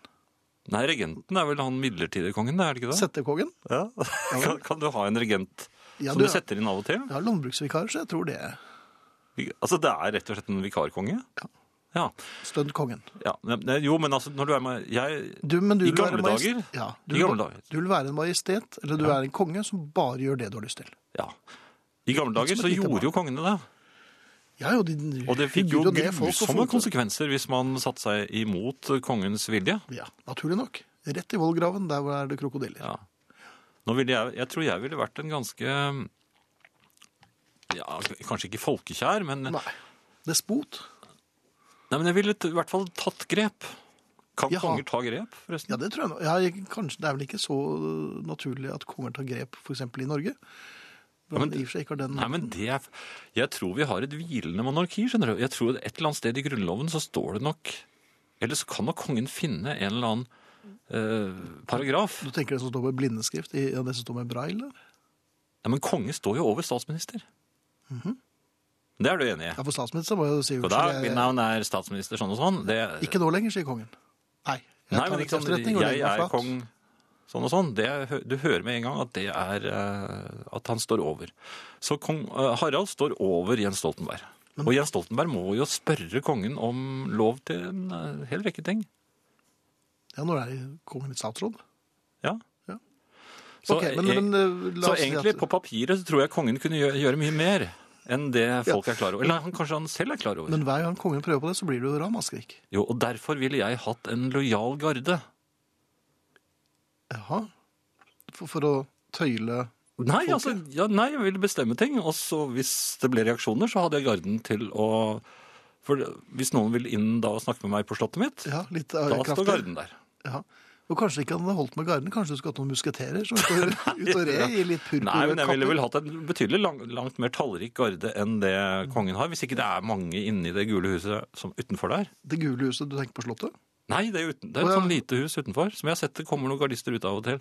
Nei, regenten er vel han midlertidige kongen, er det ikke det? Settekongen? Ja. Kan, kan du ha en regent Ja, som du- du setter inn av og til? Ja, landbruksvikar, så jeg tror det er Altså, det er rett og slett en vikarkonge? Ja. Ja. stønnkongen. ja. Nei, Jo, men altså, når du er med Jeg Du, men du I vil være gamle majest- dager? Ja, du, I vil- gamle dager. Du vil være en majestet, eller du er en konge som bare gjør det du har lyst til. Ja. I gamle dager Som Liksom et så lite barn. gjorde jo kongene det. Ja, jo, de Og det fikk hugger jo ned folk og grusomme folk- konsekvenser hvis man satte seg imot kongens vilje. Ja, naturlig nok. Rett i vollgraven, der hvor er det krokodiller. Ja. Nå ville jeg, jeg tror jeg ville vært en ganske ja, Kanskje ikke folkekjær, men, nei, Nei. Despot. men jeg ville t- i hvert fall tatt grep. Kan Jaha. konger ta grep, Ja, forresten? det tror jeg. nå. Ja, jeg- kanskje det er vel ikke så øh, naturlig at konger tar grep, f.eks. i Norge. Hvor Ja, men man i og for seg ikke har den... Nei, men det er, Jeg tror vi har et hvilende monarki. skjønner du? Jeg tror Et eller annet sted i Grunnloven så står det nok Eller så kan nok kongen finne en eller annen eh, paragraf. Du tenker det som står med blindeskrift, i- ja, det som står med braille? eller? Ja, men konge står jo over statsminister. Det er du enig i? Mhm. Ja, for statsminister må jo si God dag, unnskyld, mitt jeg- navn er statsminister sånn og sånn. Det, Ikke nå lenger, sier kongen. Nei. Jeg nei, tar men det ikke til sant, etterretning og jeg legger meg er flat. kong sånn og sånn. Det, hø- du hører med en gang at det er eh, at han står over. Så kong eh, Harald står over Jens Stoltenberg. Og Jens Stoltenberg må jo spørre kongen om lov til en eh, hel rekke ting. Ja, nå er kongen litt statsråd. Ja. Ja. Så, Ok, men, eh, men eh, la så oss si egentlig, at, på papiret, så tror jeg kongen kunne gjøre, gjøre mye mer enn det folk er klar over. Eller han, kanskje han selv er klar over. Men hver gang kongen prøver på det, så blir det jo ramaskrik. Jo, og derfor ville jeg hatt en lojal garde. Jaha. For, for å tøyle Nei, Folk, altså, ja, nei, jeg ville bestemme ting, og så hvis det ble reaksjoner, så hadde jeg garden til å For hvis noen ville inn da og snakke med meg på slottet mitt, ja, litt da står kraftig. garden der. Ja. Og kanskje ikke han hadde holdt med garden, kanskje du skulle hatt noen musketerer som står ut og re i litt purpur Nei, men jeg ville vel kapper. hatt en betydelig lang, langt mer tallrik garde enn det kongen har, hvis ikke det er mange inne i det gule huset som utenfor der. Det gule huset du tenker på Slottet? Nei, det er, uten, det er Å, et ja. sånn lite hus utenfor, som jeg har sett det kommer noen gardister ut av og til.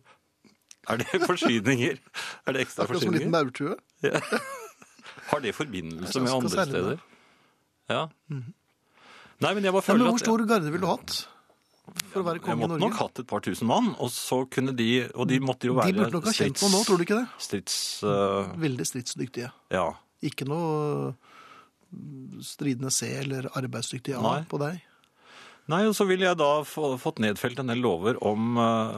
Er det forsyninger? Er det ekstra Akkurat som en liten forsyninger? maurtue? Har det forbindelse Jeg med skal andre selge det. steder? Ja. Nei, men jeg Ja, bare men føler hvor at stor garde ville du hatt for å være jeg konge i måtte nok Norge? hatt et par tusen mann, og så kunne de Og de måtte jo være De burde nok ha kjent noe nå, strids- tror du ikke det? Strids... øh, Veldig stridsdyktige. ja. Ikke noe mm, stridende C eller arbeidsdyktig A Nei. på deg. Nei, og så ville jeg da få, fått nedfelt en del lover om øh,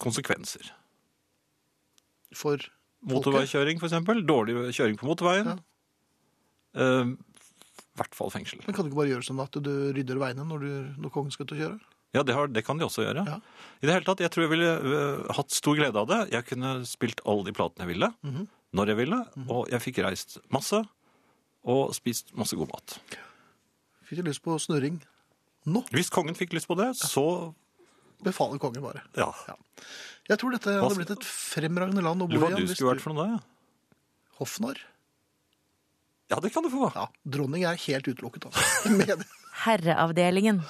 konsekvenser. For folket. Motorveikjøring, for eksempel. Dårlig kjøring på motorveien. Eh, I hvert fall fengsel. Men kan du ikke bare gjøre sånn at du rydder veiene når, du, når kongen skal ut og kjøre? Ja, det, har, det kan de også gjøre. Ja. I det hele tatt, Jeg tror jeg ville øh, hatt stor glede av det. Jeg kunne spilt alle de platene jeg ville, Mhm. når jeg ville, og jeg fikk reist masse og spist masse god mat. Fikk du lyst på snurring nå? Hvis kongen fikk lyst på det, så Befaler kongen bare. ja. Ja. Jeg tror dette Hva- hadde blitt et fremragende land å bo i. Lurer på Hva igjen du hvis skulle vært for noe da? ja. Hoffnarr? Ja, det kan du få. Ja, dronning er helt utelukket, altså. Med- Herreavdelingen.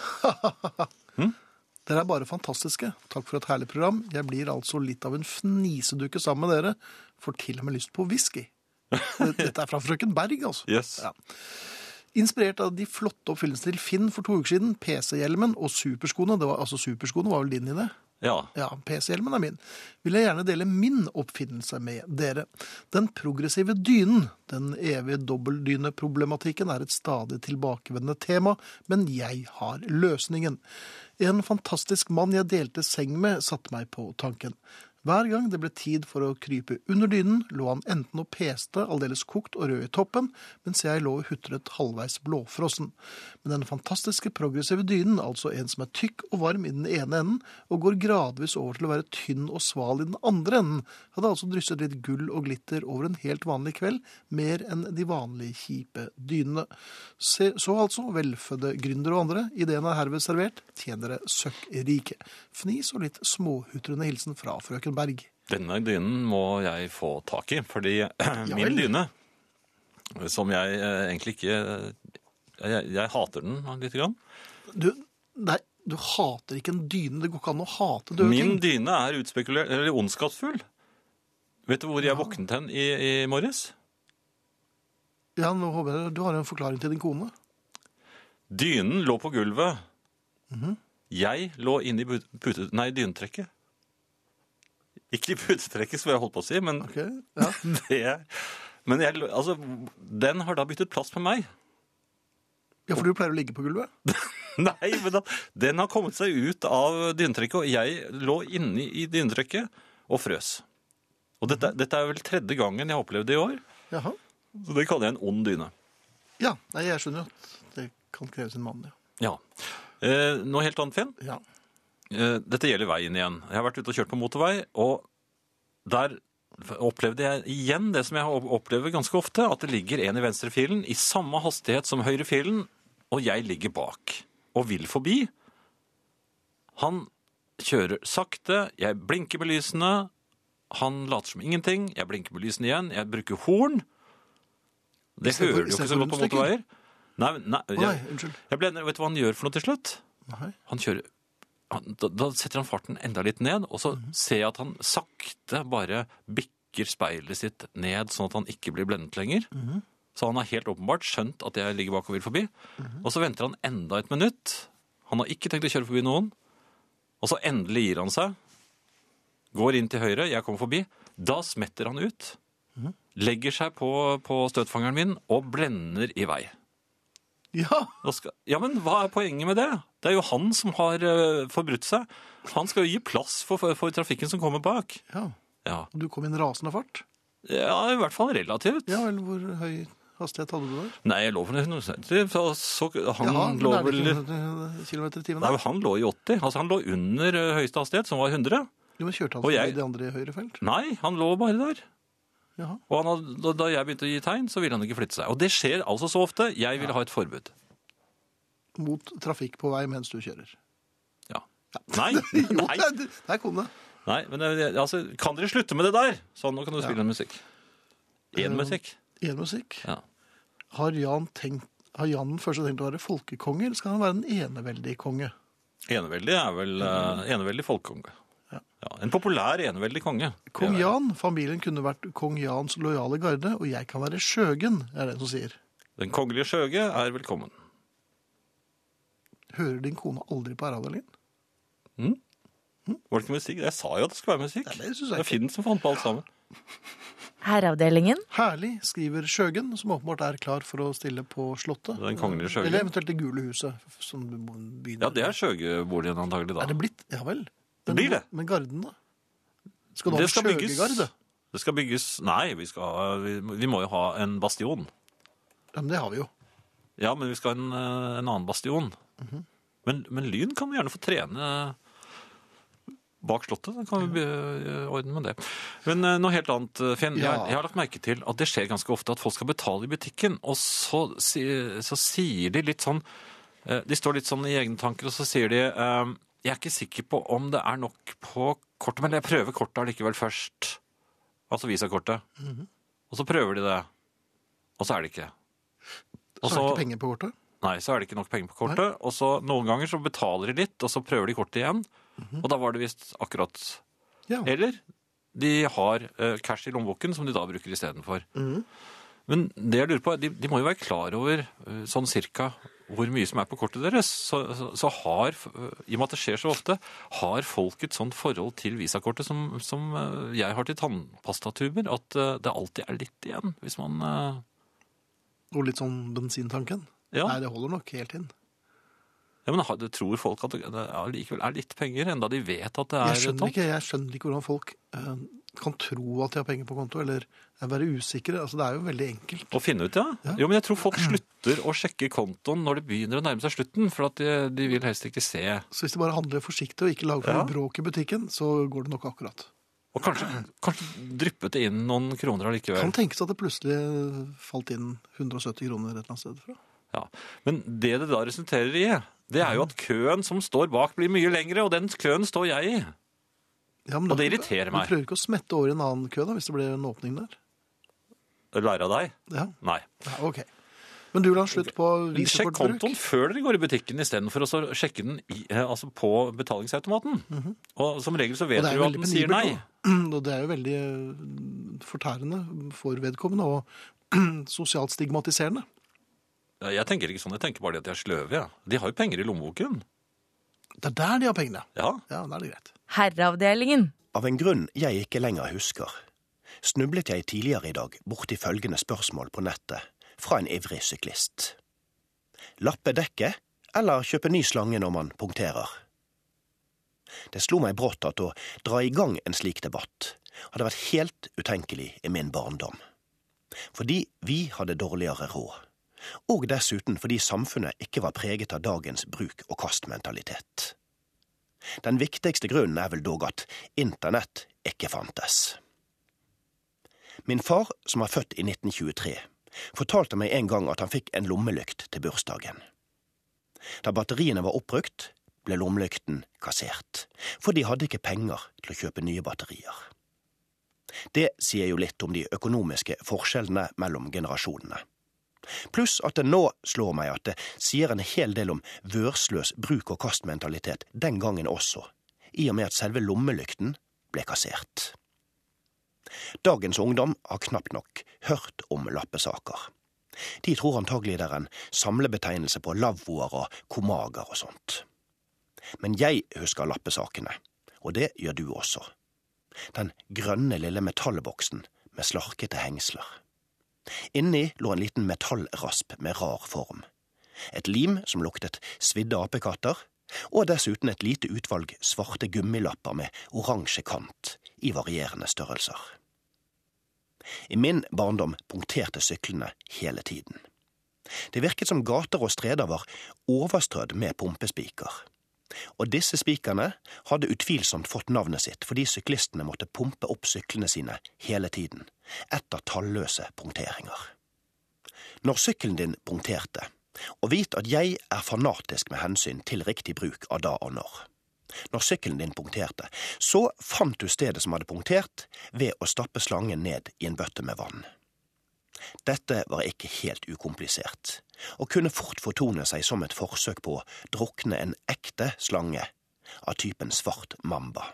Dere er bare fantastiske. Takk for et herlig program. Jeg blir altså litt av en fnisedukke sammen med dere. Får til og med lyst på whisky. Dette er fra frøken Berg, altså. Yes. Ja. Inspirert av de flotte oppfyllelsene til Finn for to uker siden. PC-hjelmen og superskoene. Det var, altså, superskoene var vel din idé? Ja. Ja, PC-hjelmen er min. Vil jeg gjerne dele min oppfinnelse med dere. Den progressive dynen, den evige dobbeltdyneproblematikken, er et stadig tilbakevendende tema, men jeg har løsningen. En fantastisk mann jeg delte seng med, satte meg på tanken. Hver gang det ble tid for å krype under dynen, lå han enten og peste, aldeles kokt og rød i toppen, mens jeg lå og hutret halvveis blåfrossen. Men den fantastiske progressive dynen, altså en som er tykk og varm i den ene enden, og går gradvis over til å være tynn og sval i den andre enden, hadde altså drysset litt gull og glitter over en helt vanlig kveld, mer enn de vanlige kjipe dynene. Se, så altså, velfødde gründere og andre, ideen er herved servert, tjen dere søkkrike. Fnis og litt småhutrende hilsen fra frøken Berg. Denne dynen må jeg få tak i, fordi vel. min dyne, som jeg eh, egentlig ikke jeg, jeg hater den litt. Grann. Du, nei, du hater ikke en dyne, det går ikke an å hate døde Min ting. dyne er utspekulert, eller ondskapsfull. Vet du hvor jeg våknet hen i, i morges? Ja, nå håper jeg du har en forklaring til din kone. Dynen lå på gulvet. Jeg lå inne i pute, pute- nei, dynetrekket. Ikke i putetrekket, som jeg holdt på å si, men, Ok, ja. det, men jeg, lå- altså, den har da byttet plass med meg. ja, for du pleier å ligge på gulvet. Nei, men da, den har kommet seg ut av dynetrekket, og jeg lå inne i dynetrekket og frøs. Og dette, dette er vel tredje gangen jeg har opplevd det i år, Jaha. så det kaller jeg en ond dyne. Ja, nei, jeg skjønner jo at det kan kreve sin mann, ja. Ja. Eh, noe helt annet, Finn. ja. Eh, Dette gjelder veien igjen. Jeg har vært ute og kjørt på motorvei, og der opplevde jeg igjen det som jeg opp- opplever ganske ofte, at det ligger en i venstrefilen i samme hastighet som høyrefilen, og jeg ligger bak og vil forbi. Han kjører sakte, jeg blinker med lysene, han later som ingenting, jeg blinker med lysene igjen, jeg bruker horn. Det Istedenfor- hører du jo ikke så istedenfor godt på motorveier. Nei, men- nei, Å, nei, jeg, unnskyld. jeg blender, vet du hva han gjør for noe til slutt? Nei. han kjører han, da, da setter han farten enda litt ned, og så Mhm. ser jeg at han sakte bare bikker speilet sitt ned, sånn at han ikke blir blendet lenger. Mhm. Så han har helt åpenbart skjønt at jeg ligger bak og vil forbi. Mhm. Og så venter han enda et minutt. Han har ikke tenkt å kjøre forbi noen. Og så endelig gir han seg. Går inn til høyre, jeg kommer forbi. Da smetter han ut. Mhm. Legger seg på, på støtfangeren min og blender i vei. Ja, Da skal, ja, men hva er poenget med det? Det er jo han som har eh, forbrutt seg. Han skal jo gi plass for, for, for trafikken som kommer bak. ja. Ja. Og du kom i en rasende fart. ja, i hvert fall relativt. Ja vel, hvor høy hastighet hadde du der? Nei, jeg lå for 170, så, så han Jaha, men lå er det vel... ikke noe kilometer i timen? Nei, da? han lå i 80. Altså, han lå under eh, høyeste hastighet, som var 100. Jo, men kjørte han Og forbi jeg- de andre i høyre felt? Nei, han lå bare der. Jaha. Og han, hadde- da, da jeg begynte å gi tegn, så ville han ikke flytte seg. Og det skjer altså så ofte. Jeg vil ha et forbud. Mot trafikk på vei mens du kjører. Ja. Nei, Jo, nei, der, der kom det. nei. Men eh, altså, kan dere slutte med det der? Sånn, nå kan du spille en musikk. Eh, En musikk. Én musikk. Ja. Har Jan, tenkt, har Jan den første tenkt å være folkekonge, eller skal han være den eneveldige konge? Eneveldig er vel eh, eneveldig folkekonge. Ja. Ja. en populær eneveldig konge. Kong Det er- Jan, familien kunne vært kong Jans lojale garde, og jeg kan være Skjøgen, er det en som sier. Den kongelige skjøge er velkommen. Hører din kone aldri på Aradalin? Var det ikke musikk? Jeg sa jo at det skulle være musikk. Nei, det synes jeg det er Finn som fant på alt sammen. Herreavdelingen. Herlig, skriver Skjøgen, som åpenbart er klar for å stille på Slottet. Den kongelige skjøgen. Eller eventuelt Det gule huset, som begynner. Ja, det er skjøgeboligen antagelig da. Er det blitt? Ja vel. Det blir det. Men garden, da? Skal du ha en skjøgegarde? Det skal bygges Nei, vi, skal, ha- vi, vi må jo ha en bastion. Ja, men det har vi jo. Ja, men vi skal ha en, eh, en annen bastion. men, men Lyn kan gjerne få trene bak slottet. Da kan vi be- eh, ordne med det. Men eh, noe helt annet, eh, Finn. Ja. Jeg, jeg har lagt merke til at det skjer ganske ofte at folk skal betale i butikken, og så, si, så sier de litt sånn eh, De står litt sånn i egne tanker, og så sier de eh, Jeg er ikke sikker på om det er nok på kortet, men jeg prøver kortet allikevel først. Altså visakortet. Og så prøver de det, og så er det ikke. Så Altså- er det ikke penger på kortet. Nei, så er det ikke nok penger på kortet. Og så Noen ganger så betaler de litt, og så prøver de kortet igjen. Og da var det visst akkurat Mhm. Ja. Eller de har eh, cash i lommeboken som de da bruker istedenfor. Mhm. Men det jeg lurer på, er, de, de må jo være klar over eh, sånn cirka hvor mye som er på kortet deres. Så, så, så har, eh, i og med at det skjer så ofte, har folk et sånt forhold til visakortet som, som eh, jeg har til tannpastatuber, at eh, det alltid er litt igjen hvis man eh, Og litt sånn bensintanken. ja. Nei, det holder nok helt inn. ja, men har- det tror folk at det det er likevel er litt penger, enda de vet at det Jeg er skjønner, tomt? ikke, jeg skjønner ikke hvordan folk eh, kan tro at de har penger på konto, eller være usikre. Altså, det er jo veldig enkelt. Å finne ut, ja. Ja. Jo, men jeg tror folk slutter å sjekke kontoen når det begynner å nærme seg slutten, for at de, de vil helst ikke se. Så hvis de bare handler forsiktig og ikke lager for Ja. mye bråk i butikken, så går det nok akkurat. Og kanskje, kanskje dryppet det inn noen kroner allikevel. Kan tenkes at det plutselig falt inn 170 kroner et eller annet sted fra. Ja. Men det det da resulterer i, det er jo at køen som står bak blir mye lengre, og den køen står jeg i. Ja, men Og da- det irriterer meg. Du prøver ikke å smette over i en annen kø da, hvis det blir en åpning der? Lære av deg? Ja, Nei. Nei, ok. Men du la slutt på Sjekk visakortbruk. kontoen før dere går i butikken istedenfor å så sjekke den i, eh, altså på betalingsautomaten. Og som regel så vet Mhm. Og det er jo du jo at veldig den sier penibelt, nei. da. Og det er jo veldig eh, fortærende for vedkommende, og sosialt stigmatiserende. Ja, Jeg tenker ikke sånn, jeg tenker bare det at de er sløve. Ja. De har jo penger i lommeboken. Det er der de har pengene. Ja. Ja, da er det greit. Herreavdelingen. Av en grunn jeg ikke lenger husker, snublet jeg tidligere i dag borti følgende spørsmål på nettet fra en ivrig syklist. Lappe dekket eller kjøpe ny slange når man punkterer? Det slo meg brått at å dra i gang en slik debatt hadde vært helt utenkelig i min barndom. Fordi vi hadde dårligere råd, og dessuten fordi samfunnet ikke var preget av dagens bruk-og-kast-mentalitet. Den viktigste grunnen er vel dog at internett ikke fantes. Min far, som er født i 1923, fortalte meg en gang at han fikk en lommelykt til bursdagen. Da batteriene var oppbrukt, ble lommelykten kassert, for de hadde ikke penger til å kjøpe nye batterier. Det sier jo litt om de økonomiske forskjellene mellom generasjonene. Pluss at det nå slår meg at det sier en hel del om vørsløs bruk-og-kast-mentalitet den gangen også, i og med at selve lommelykten ble kassert. Dagens ungdom har knapt nok hørt om lappesaker. De tror antagelig det er en samlebetegnelse på lavvoer og komager og sånt. Men jeg husker lappesakene, og det gjør du også. Den grønne lille metallboksen med slarkete hengsler. Inni lå en liten metallrasp med rar form. Et lim som luktet svidde apekatter, og dessuten et lite utvalg svarte gummilapper med oransje kant i varierende størrelser. I min barndom punkterte syklene hele tiden. Det virket som gater og streder var overstrødd med pumpespiker. Og disse spikerne hadde utvilsomt fått navnet sitt fordi syklistene måtte pumpe opp syklene sine hele tiden, etter talløse punkteringer. Når sykkelen din punkterte, og vit at jeg er fanatisk med hensyn til riktig bruk av da og når. Når sykkelen din punkterte, så fant du stedet som hadde punktert ved å stappe slangen ned i en bøtte med vann. Dette var ikke helt ukomplisert, og kunne fort fortone seg som et forsøk på å drukne en ekte slange av typen svart mamba.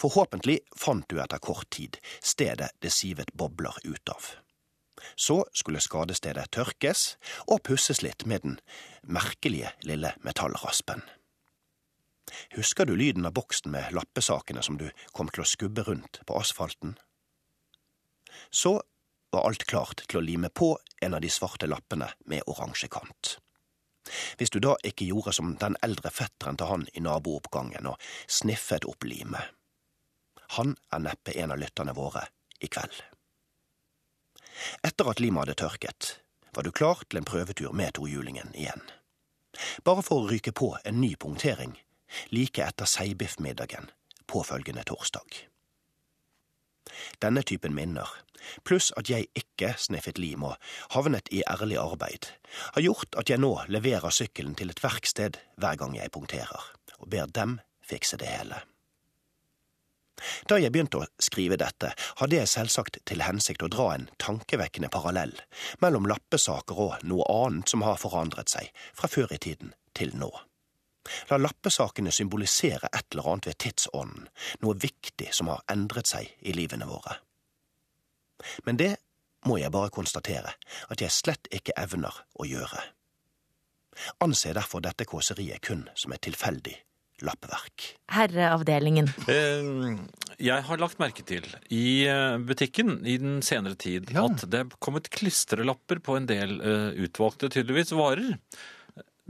Forhåpentlig fant du etter kort tid stedet det sivet bobler ut av. Så skulle skadestedet tørkes og pusses litt med den merkelige lille metallraspen. Husker du lyden av boksen med lappesakene som du kom til å skubbe rundt på asfalten? Så var alt klart til å lime på en av de svarte lappene med oransje kant. Hvis du da ikke gjorde som den eldre fetteren til han i nabooppgangen og sniffet opp limet. Han er neppe en av lytterne våre i kveld. Etter at limet hadde tørket, var du klar til en prøvetur med tohjulingen igjen. Bare for å ryke på en ny punktering like etter seibiffmiddagen påfølgende torsdag denne typen minner, pluss at jeg ikke sniffet lim og havnet i ærlig arbeid, har gjort at jeg nå leverer sykkelen til et verksted hver gang jeg punkterer, og ber dem fikse det hele. Da jeg begynte å skrive dette, hadde jeg selvsagt til hensikt å dra en tankevekkende parallell mellom lappesaker og noe annet som har forandret seg fra før i tiden til nå. La lappesakene symbolisere et eller annet ved tidsånden, noe viktig som har endret seg i livene våre. Men det må jeg bare konstatere at jeg slett ikke evner å gjøre. Anse derfor dette kåseriet kun som et tilfeldig lappverk. Herreavdelingen. Eh, Jeg har lagt merke til i eh, butikken i den senere tid Ja. at det er kommet klistrelapper på en del eh, utvalgte tydeligvis varer.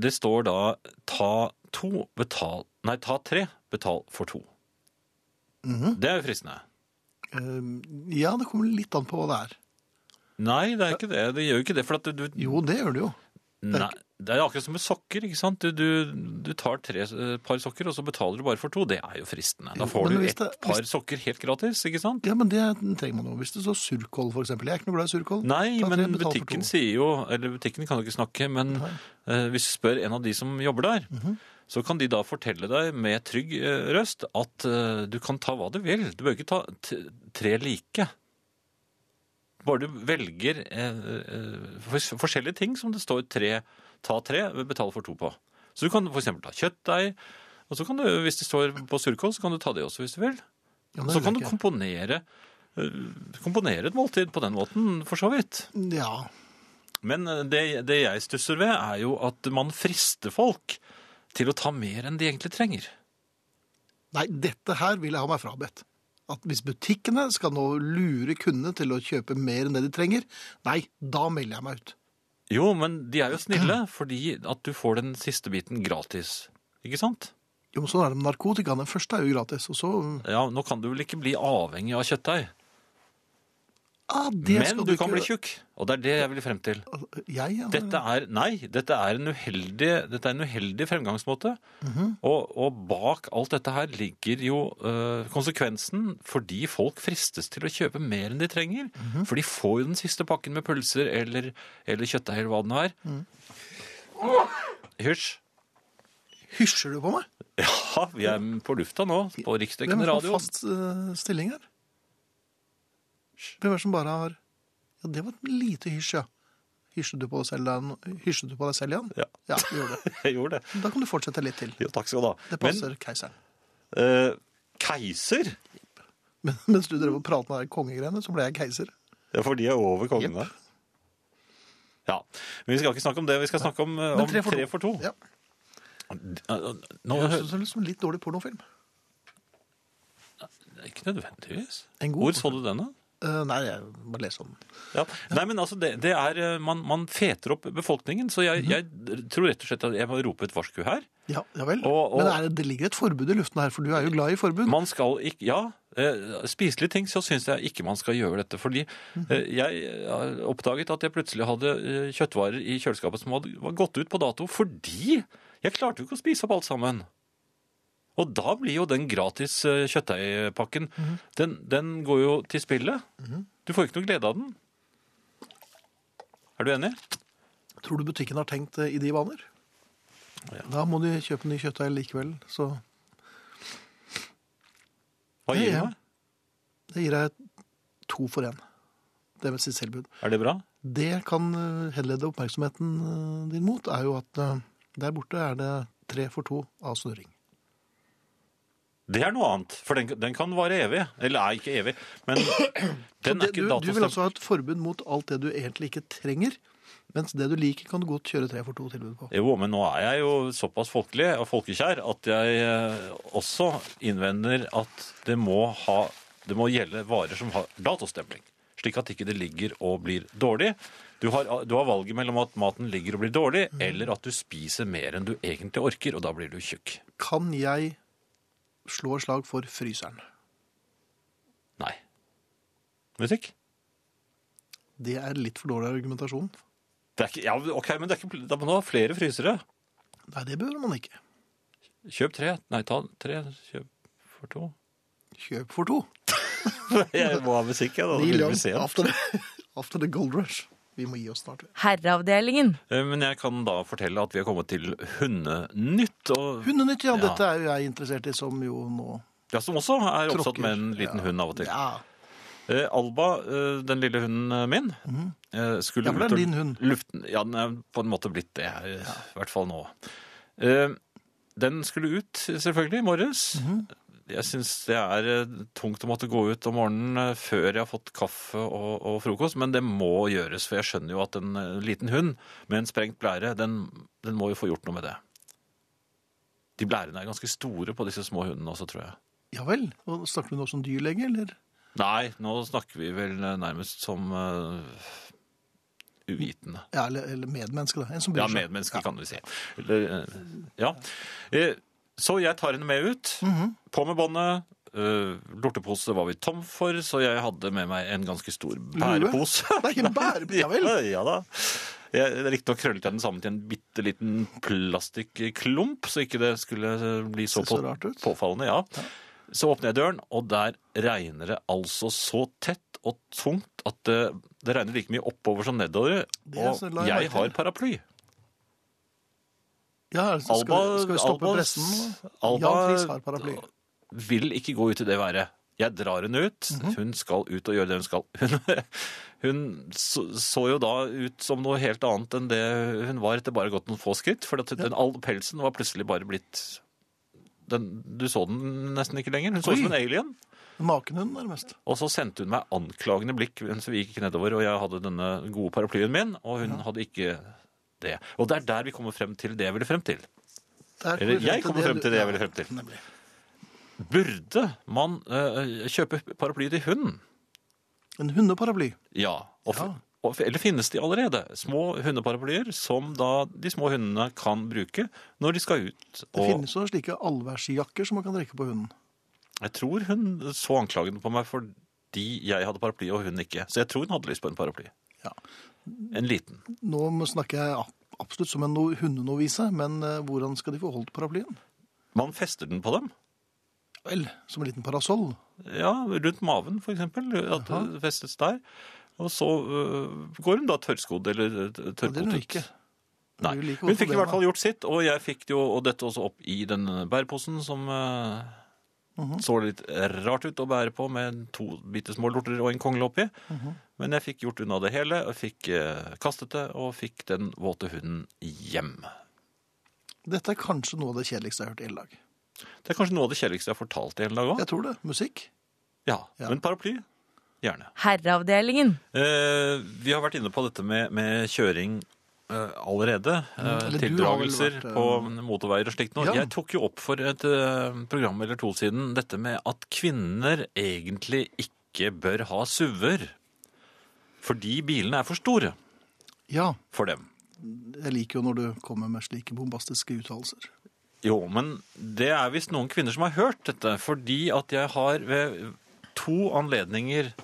Det står da 'ta to, betal Nei, ta tre, betal for to'. Det er jo fristende. Eh, Ja, det kommer litt an på hva det er. Nei, det er ikke det. Det gjør jo ikke det. For at du, du Jo, det gjør det jo. Nei, det er akkurat som med sokker. ikke sant? Du, du, du tar tre eh, par sokker, og så betaler du bare for to. Det er jo fristende. Da Jo, får men du hvis ett det- hvis- par sokker helt gratis, ikke sant? Ja, men det trenger man jo. Hvis det står surkål, for eksempel. Jeg er ikke noe glad i surkål. Nei, Ta tre, men betal for butikken to. sier jo Eller butikken kan jo ikke snakke, men eh, hvis du spør en av de som jobber der, Mhm. så kan de da fortelle deg med trygg eh, røst at eh, du kan ta hva du vil. Du bør ikke ta t tre like. Bare du velger eh, eh, fors forskjellige ting som det står tre, ta tre, betal for to på. Så du kan for eksempel ta kjøttdeig, og så kan du, hvis det står på surkål, så kan du ta det også hvis du vil. Ja, men det Så vet kan du jeg ikke. komponere, eh, komponere et måltid på den måten, for så vidt. Ja. Men eh, det, det jeg stusser ved, er jo at man frister folk til å ta mer enn de egentlig trenger. Nei, dette her vil jeg ha meg frabedt. At hvis butikkene skal nå lure kundene til å kjøpe mer enn det de trenger, nei, da melder jeg meg ut. Jo, men de er jo snille fordi at du får den siste biten gratis. Ikke sant? Jo, men sånn er det med narkotika. Den første er jo gratis, og så Ja, Nå kan du vel ikke bli avhengig av kjøttdeig, ah, det men skal du kan ikke- bli tjukk. Og det er det jeg vil frem til. Jeg, ja. Dette er, nei, dette er en uheldig, dette er en uheldig fremgangsmåte. Mhm. og, og bak alt dette her ligger jo øh, konsekvensen fordi folk fristes til å kjøpe mer enn de trenger. Mhm. For de får jo den siste pakken med pølser eller, eller kjøttdeig eller hva det nå er. Mm. Hysj. Hysjer du på meg? Ja, vi er på lufta nå, på Hvem riksdekkende er det som radio. har fast eh, stilling her? Hvem er det som bare har Ja, det var et lite hysj, ja. Hysjet du på deg selv, Jan? Hysjet du på deg selv, Jan? Ja. ja du gjorde det. Jeg gjorde det. Da kan du fortsette litt til. Jo, takk skal du ha. Det Men passer keiseren. øh, keiser, Men mens du drev og pratet med de kongegreiene, så ble jeg keiser. ja, for de er over kongene. Ja, men vi skal ikke snakke om det. Vi skal snakke om, øh, om Men tre for to. Ja. Nå, Det høres ut som liksom litt dårlig pornofilm. ikke nødvendigvis. En god Hvor så du den, da? Eh, nei, jeg bare leser om den. Ja. Nei, men altså, det, det er, eh, man, man feter opp befolkningen, så jeg, jeg tror rett og slett at jeg må rope et varsku her. Ja, ja vel. Og- og- Men er det, det ligger et forbud i luften her, for du er jo glad i forbud. Man skal ikke, ja, eh, spiselige ting, så synes jeg ikke man skal gjøre dette, fordi eh, jeg har oppdaget at jeg plutselig hadde eh, kjøttvarer i kjøleskapet som hadde var gått ut på dato, fordi jeg klarte jo ikke å spise opp alt sammen. Og da blir jo den gratis eh, kjøttdeigpakken, den, den går jo til spillet. Du får ikke noe glede av den. Er du enig? Tror du butikken har tenkt eh, i de baner? Ja. Da må de kjøpe ny kjøttdeig likevel, så Hva Ja, gir ja. du meg? det gir jeg to for én. Det med sitt selvbud. Er det bra? Det kan eh, henlede oppmerksomheten eh, din mot, er jo at eh, der borte er det tre for to av snurring. Det er noe annet, for den, den kan vare evig. Eller er ikke evig, men den er Det, du, ikke du vil altså datostemt. ha et forbud mot alt det du egentlig ikke trenger, mens det du liker kan du godt kjøre tre for to tilbud på. Jo, men nå er jeg jo såpass folkelig og folkekjær at jeg eh, også innvender at det må, ha, det må gjelde varer som har datostempling. Slik at ikke det ligger og blir dårlig. Du har, du har valget mellom at maten ligger og blir dårlig, eller at du spiser mer enn du egentlig orker, og da blir du tjukk. Kan jeg slå et slag for fryseren? Nei. Musikk? Det er litt for dårlig argumentasjon. Det er ikke, ja, ok, men det er ikke, da må du ha flere frysere. Nei, det bør man ikke. Kjøp tre. Nei, ta tre. Kjøp for to. Kjøp for to. Jeg må ha musikk, jeg. Da. Da Neil blir det Young, museum. after, the- after the gold rush. Vi må gi oss snart. Herreavdelingen. Eh, Men jeg kan da fortelle at vi har kommet til Hundenytt, og, Hundenytt, ja. Ja. Dette er jo jeg interessert i, som jo nå ja, som også er oppsatt Tråkker. med en liten Ja. hund av og til. Ja. Eh, Alba, eh, den lille hunden min, eh, skulle Mhm. Ja, for det er ut og din hund. luften- ja, den er på en måte blitt det, eh, i hvert fall nå. Eh, Den skulle ut, selvfølgelig, i morges. Mhm. Jeg syns det er eh, tungt å måtte gå ut om morgenen eh, før jeg har fått kaffe og, og frokost, men det må gjøres, for jeg skjønner jo at en eh, liten hund med en sprengt blære, den, den må jo få gjort noe med det. De blærene er ganske store på disse små hundene også, tror jeg. Ja vel. Og snakker du nå som dyrlege, eller? Nei, nå snakker vi vel eh, nærmest som eh, uvitende. Ja, eller, eller medmenneske, da. En som bryr Ja, seg. medmennesker kan vi si. Eller, eh, ja. Eh, Så jeg tar henne med ut. På med båndet. Eh, Lortepose var vi tom for, så jeg hadde med meg en ganske stor bærepose. Nei, en bærepose, ja vel. Ja, ja da. Jeg Riktignok krøllet jeg den sammen til en bitte liten plastikklump, så ikke det skulle bli så, Det ser så på- rart ut. påfallende. ja. Så åpner jeg døren, og der regner det altså så tett og tungt at det, det regner like mye oppover som nedover. Det er Og så la jeg merke jeg til. har paraply. Ja, altså, skal, Alba, skal vi stoppe Alba- pressen? Alba- Jan Friis har paraply. vil ikke gå ut i det været. Jeg drar henne ut. Hun skal ut og gjøre det hun skal. Hun, hun så, så jo da ut som noe helt annet enn det hun var etter bare gått noen få skritt. For at den, all pelsen var plutselig bare blitt den, Du så den nesten ikke lenger. Hun så ut som en alien. Nakenhund, nærmest. Og så sendte hun meg anklagende blikk mens vi gikk nedover, og jeg hadde denne gode paraplyen min, og hun hadde ikke det. Og det er der vi kommer frem til det jeg ville frem til. Der Eller, vi jeg kommer frem du- til det jeg ja, ville frem til. Nemlig. Burde man eh, kjøpe paraply til hunden? En hundeparaply. Ja. Og, f- Ja. Og, f- eller finnes de allerede? Små hundeparaplyer som da de små hundene kan bruke når de skal ut. Det Og finnes jo slike allværsjakker som man kan drikke på hunden. jeg tror hun så anklagende på meg fordi jeg hadde paraply og hun ikke. Så jeg tror hun hadde lyst på en paraply. Ja. En liten. Nå må- snakker jeg ab- absolutt som en no- hundenovise, men eh, hvordan skal de få holdt paraplyen? Man fester den på dem. Vel, som en liten parasoll. Ja, rundt maven for eksempel. At det festes der. Og så øh, går hun da tørrskodd eller øh, Og det er hun tørrkotet. ikke. Det Nei. blir jo like Hun vondt fikk for i hvert bena. fall gjort sitt, og jeg fikk det jo og dette også opp i den bæreposen som eh, så litt rart ut å bære på med to bitte små lorter og en kongle oppi. Men jeg fikk gjort unna det hele, og fikk eh, kastet det, og fikk den våte hunden hjem. Dette er kanskje noe av det kjedeligste jeg har hørt i hele dag. Det er kanskje noe av det kjedeligste jeg har fortalt i hele dag òg. Jeg tror det. Musikk. Ja. Ja. Men paraply? Gjerne. Herreavdelingen. Eh, vi har vært inne på dette med, med kjøring eh, allerede. Eh, Mm, eller du har vel tildragelser vært, eh, på motorveier og slikt. nå. Ja. Jeg tok jo opp for et eh, program eller to siden dette med at kvinner egentlig ikke bør ha SUV-er. Fordi bilene er for store Ja, for dem. jeg liker jo når du kommer med slike bombastiske uttalelser. Jo, men det er visst noen kvinner som har hørt dette, fordi at jeg har ved to anledninger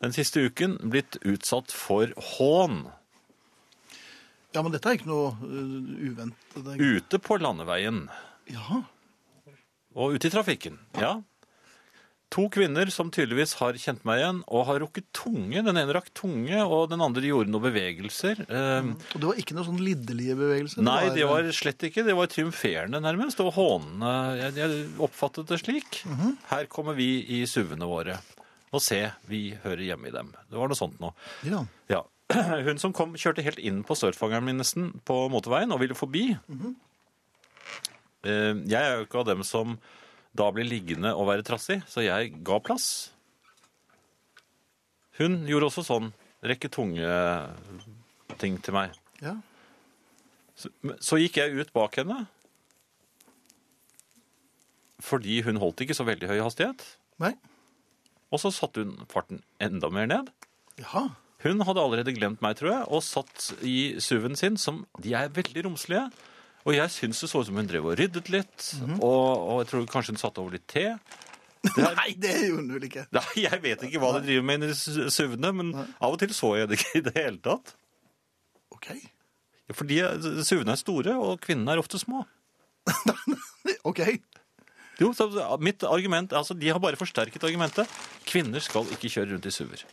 den siste uken blitt utsatt for hån. Ja, men dette er ikke noe uh, uventet. Det- Ute på landeveien. Ja, Og ute i trafikken, ja. To kvinner som tydeligvis har kjent meg igjen og har rukket tunge. Den ene rakk tunge, og den andre gjorde noen bevegelser. Eh, og det var ikke noe sånn lidderlige bevegelser. Nei, det var slett ikke. Det var triumferende nærmest, og hånende. Jeg, jeg oppfattet det slik. Her kommer vi i SUV-ene våre. Og se, vi hører hjemme i dem. Det var noe sånt nå. eh, Ja, Ja. Hun som kom, kjørte helt inn på surfangeren min nesten på motorveien og ville forbi. Eh, Jeg er jo ikke av dem som da blir liggende og være trassig, så jeg ga plass. Hun gjorde også sånn rekke tunge eh, ting til meg. ja. Så, men- så gikk jeg ut bak henne. Fordi hun holdt ikke så veldig høy hastighet. Nei. Og så satte hun farten enda mer ned. Jaha. Hun hadde allerede glemt meg, tror jeg, og satt i SUV-en sin, som de er veldig romslige. Og jeg syns det så ut som hun drev og ryddet litt, Mhm. og, og jeg tror kanskje hun satte over litt te. Nei, det gjorde hun vel ikke. Nei, jeg vet ikke hva de driver med inni SUV-ene, men av og til så jeg det ikke i det hele tatt. Ok. Fordi SUV-ene er store, og kvinnene er ofte små. Ok. Jo, så mitt argument, altså De har bare forsterket argumentet. Kvinner skal ikke kjøre rundt i SUV-er.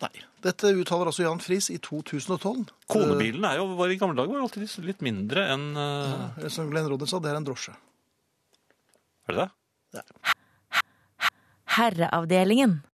Nei. Dette uttaler altså Jan Friis i 2012. Konebilene er jo, var i gamle dager var jo alltid litt mindre enn eh, Eh, Som Glenn Rodden sa, det er en drosje. Er det det? Herreavdelingen.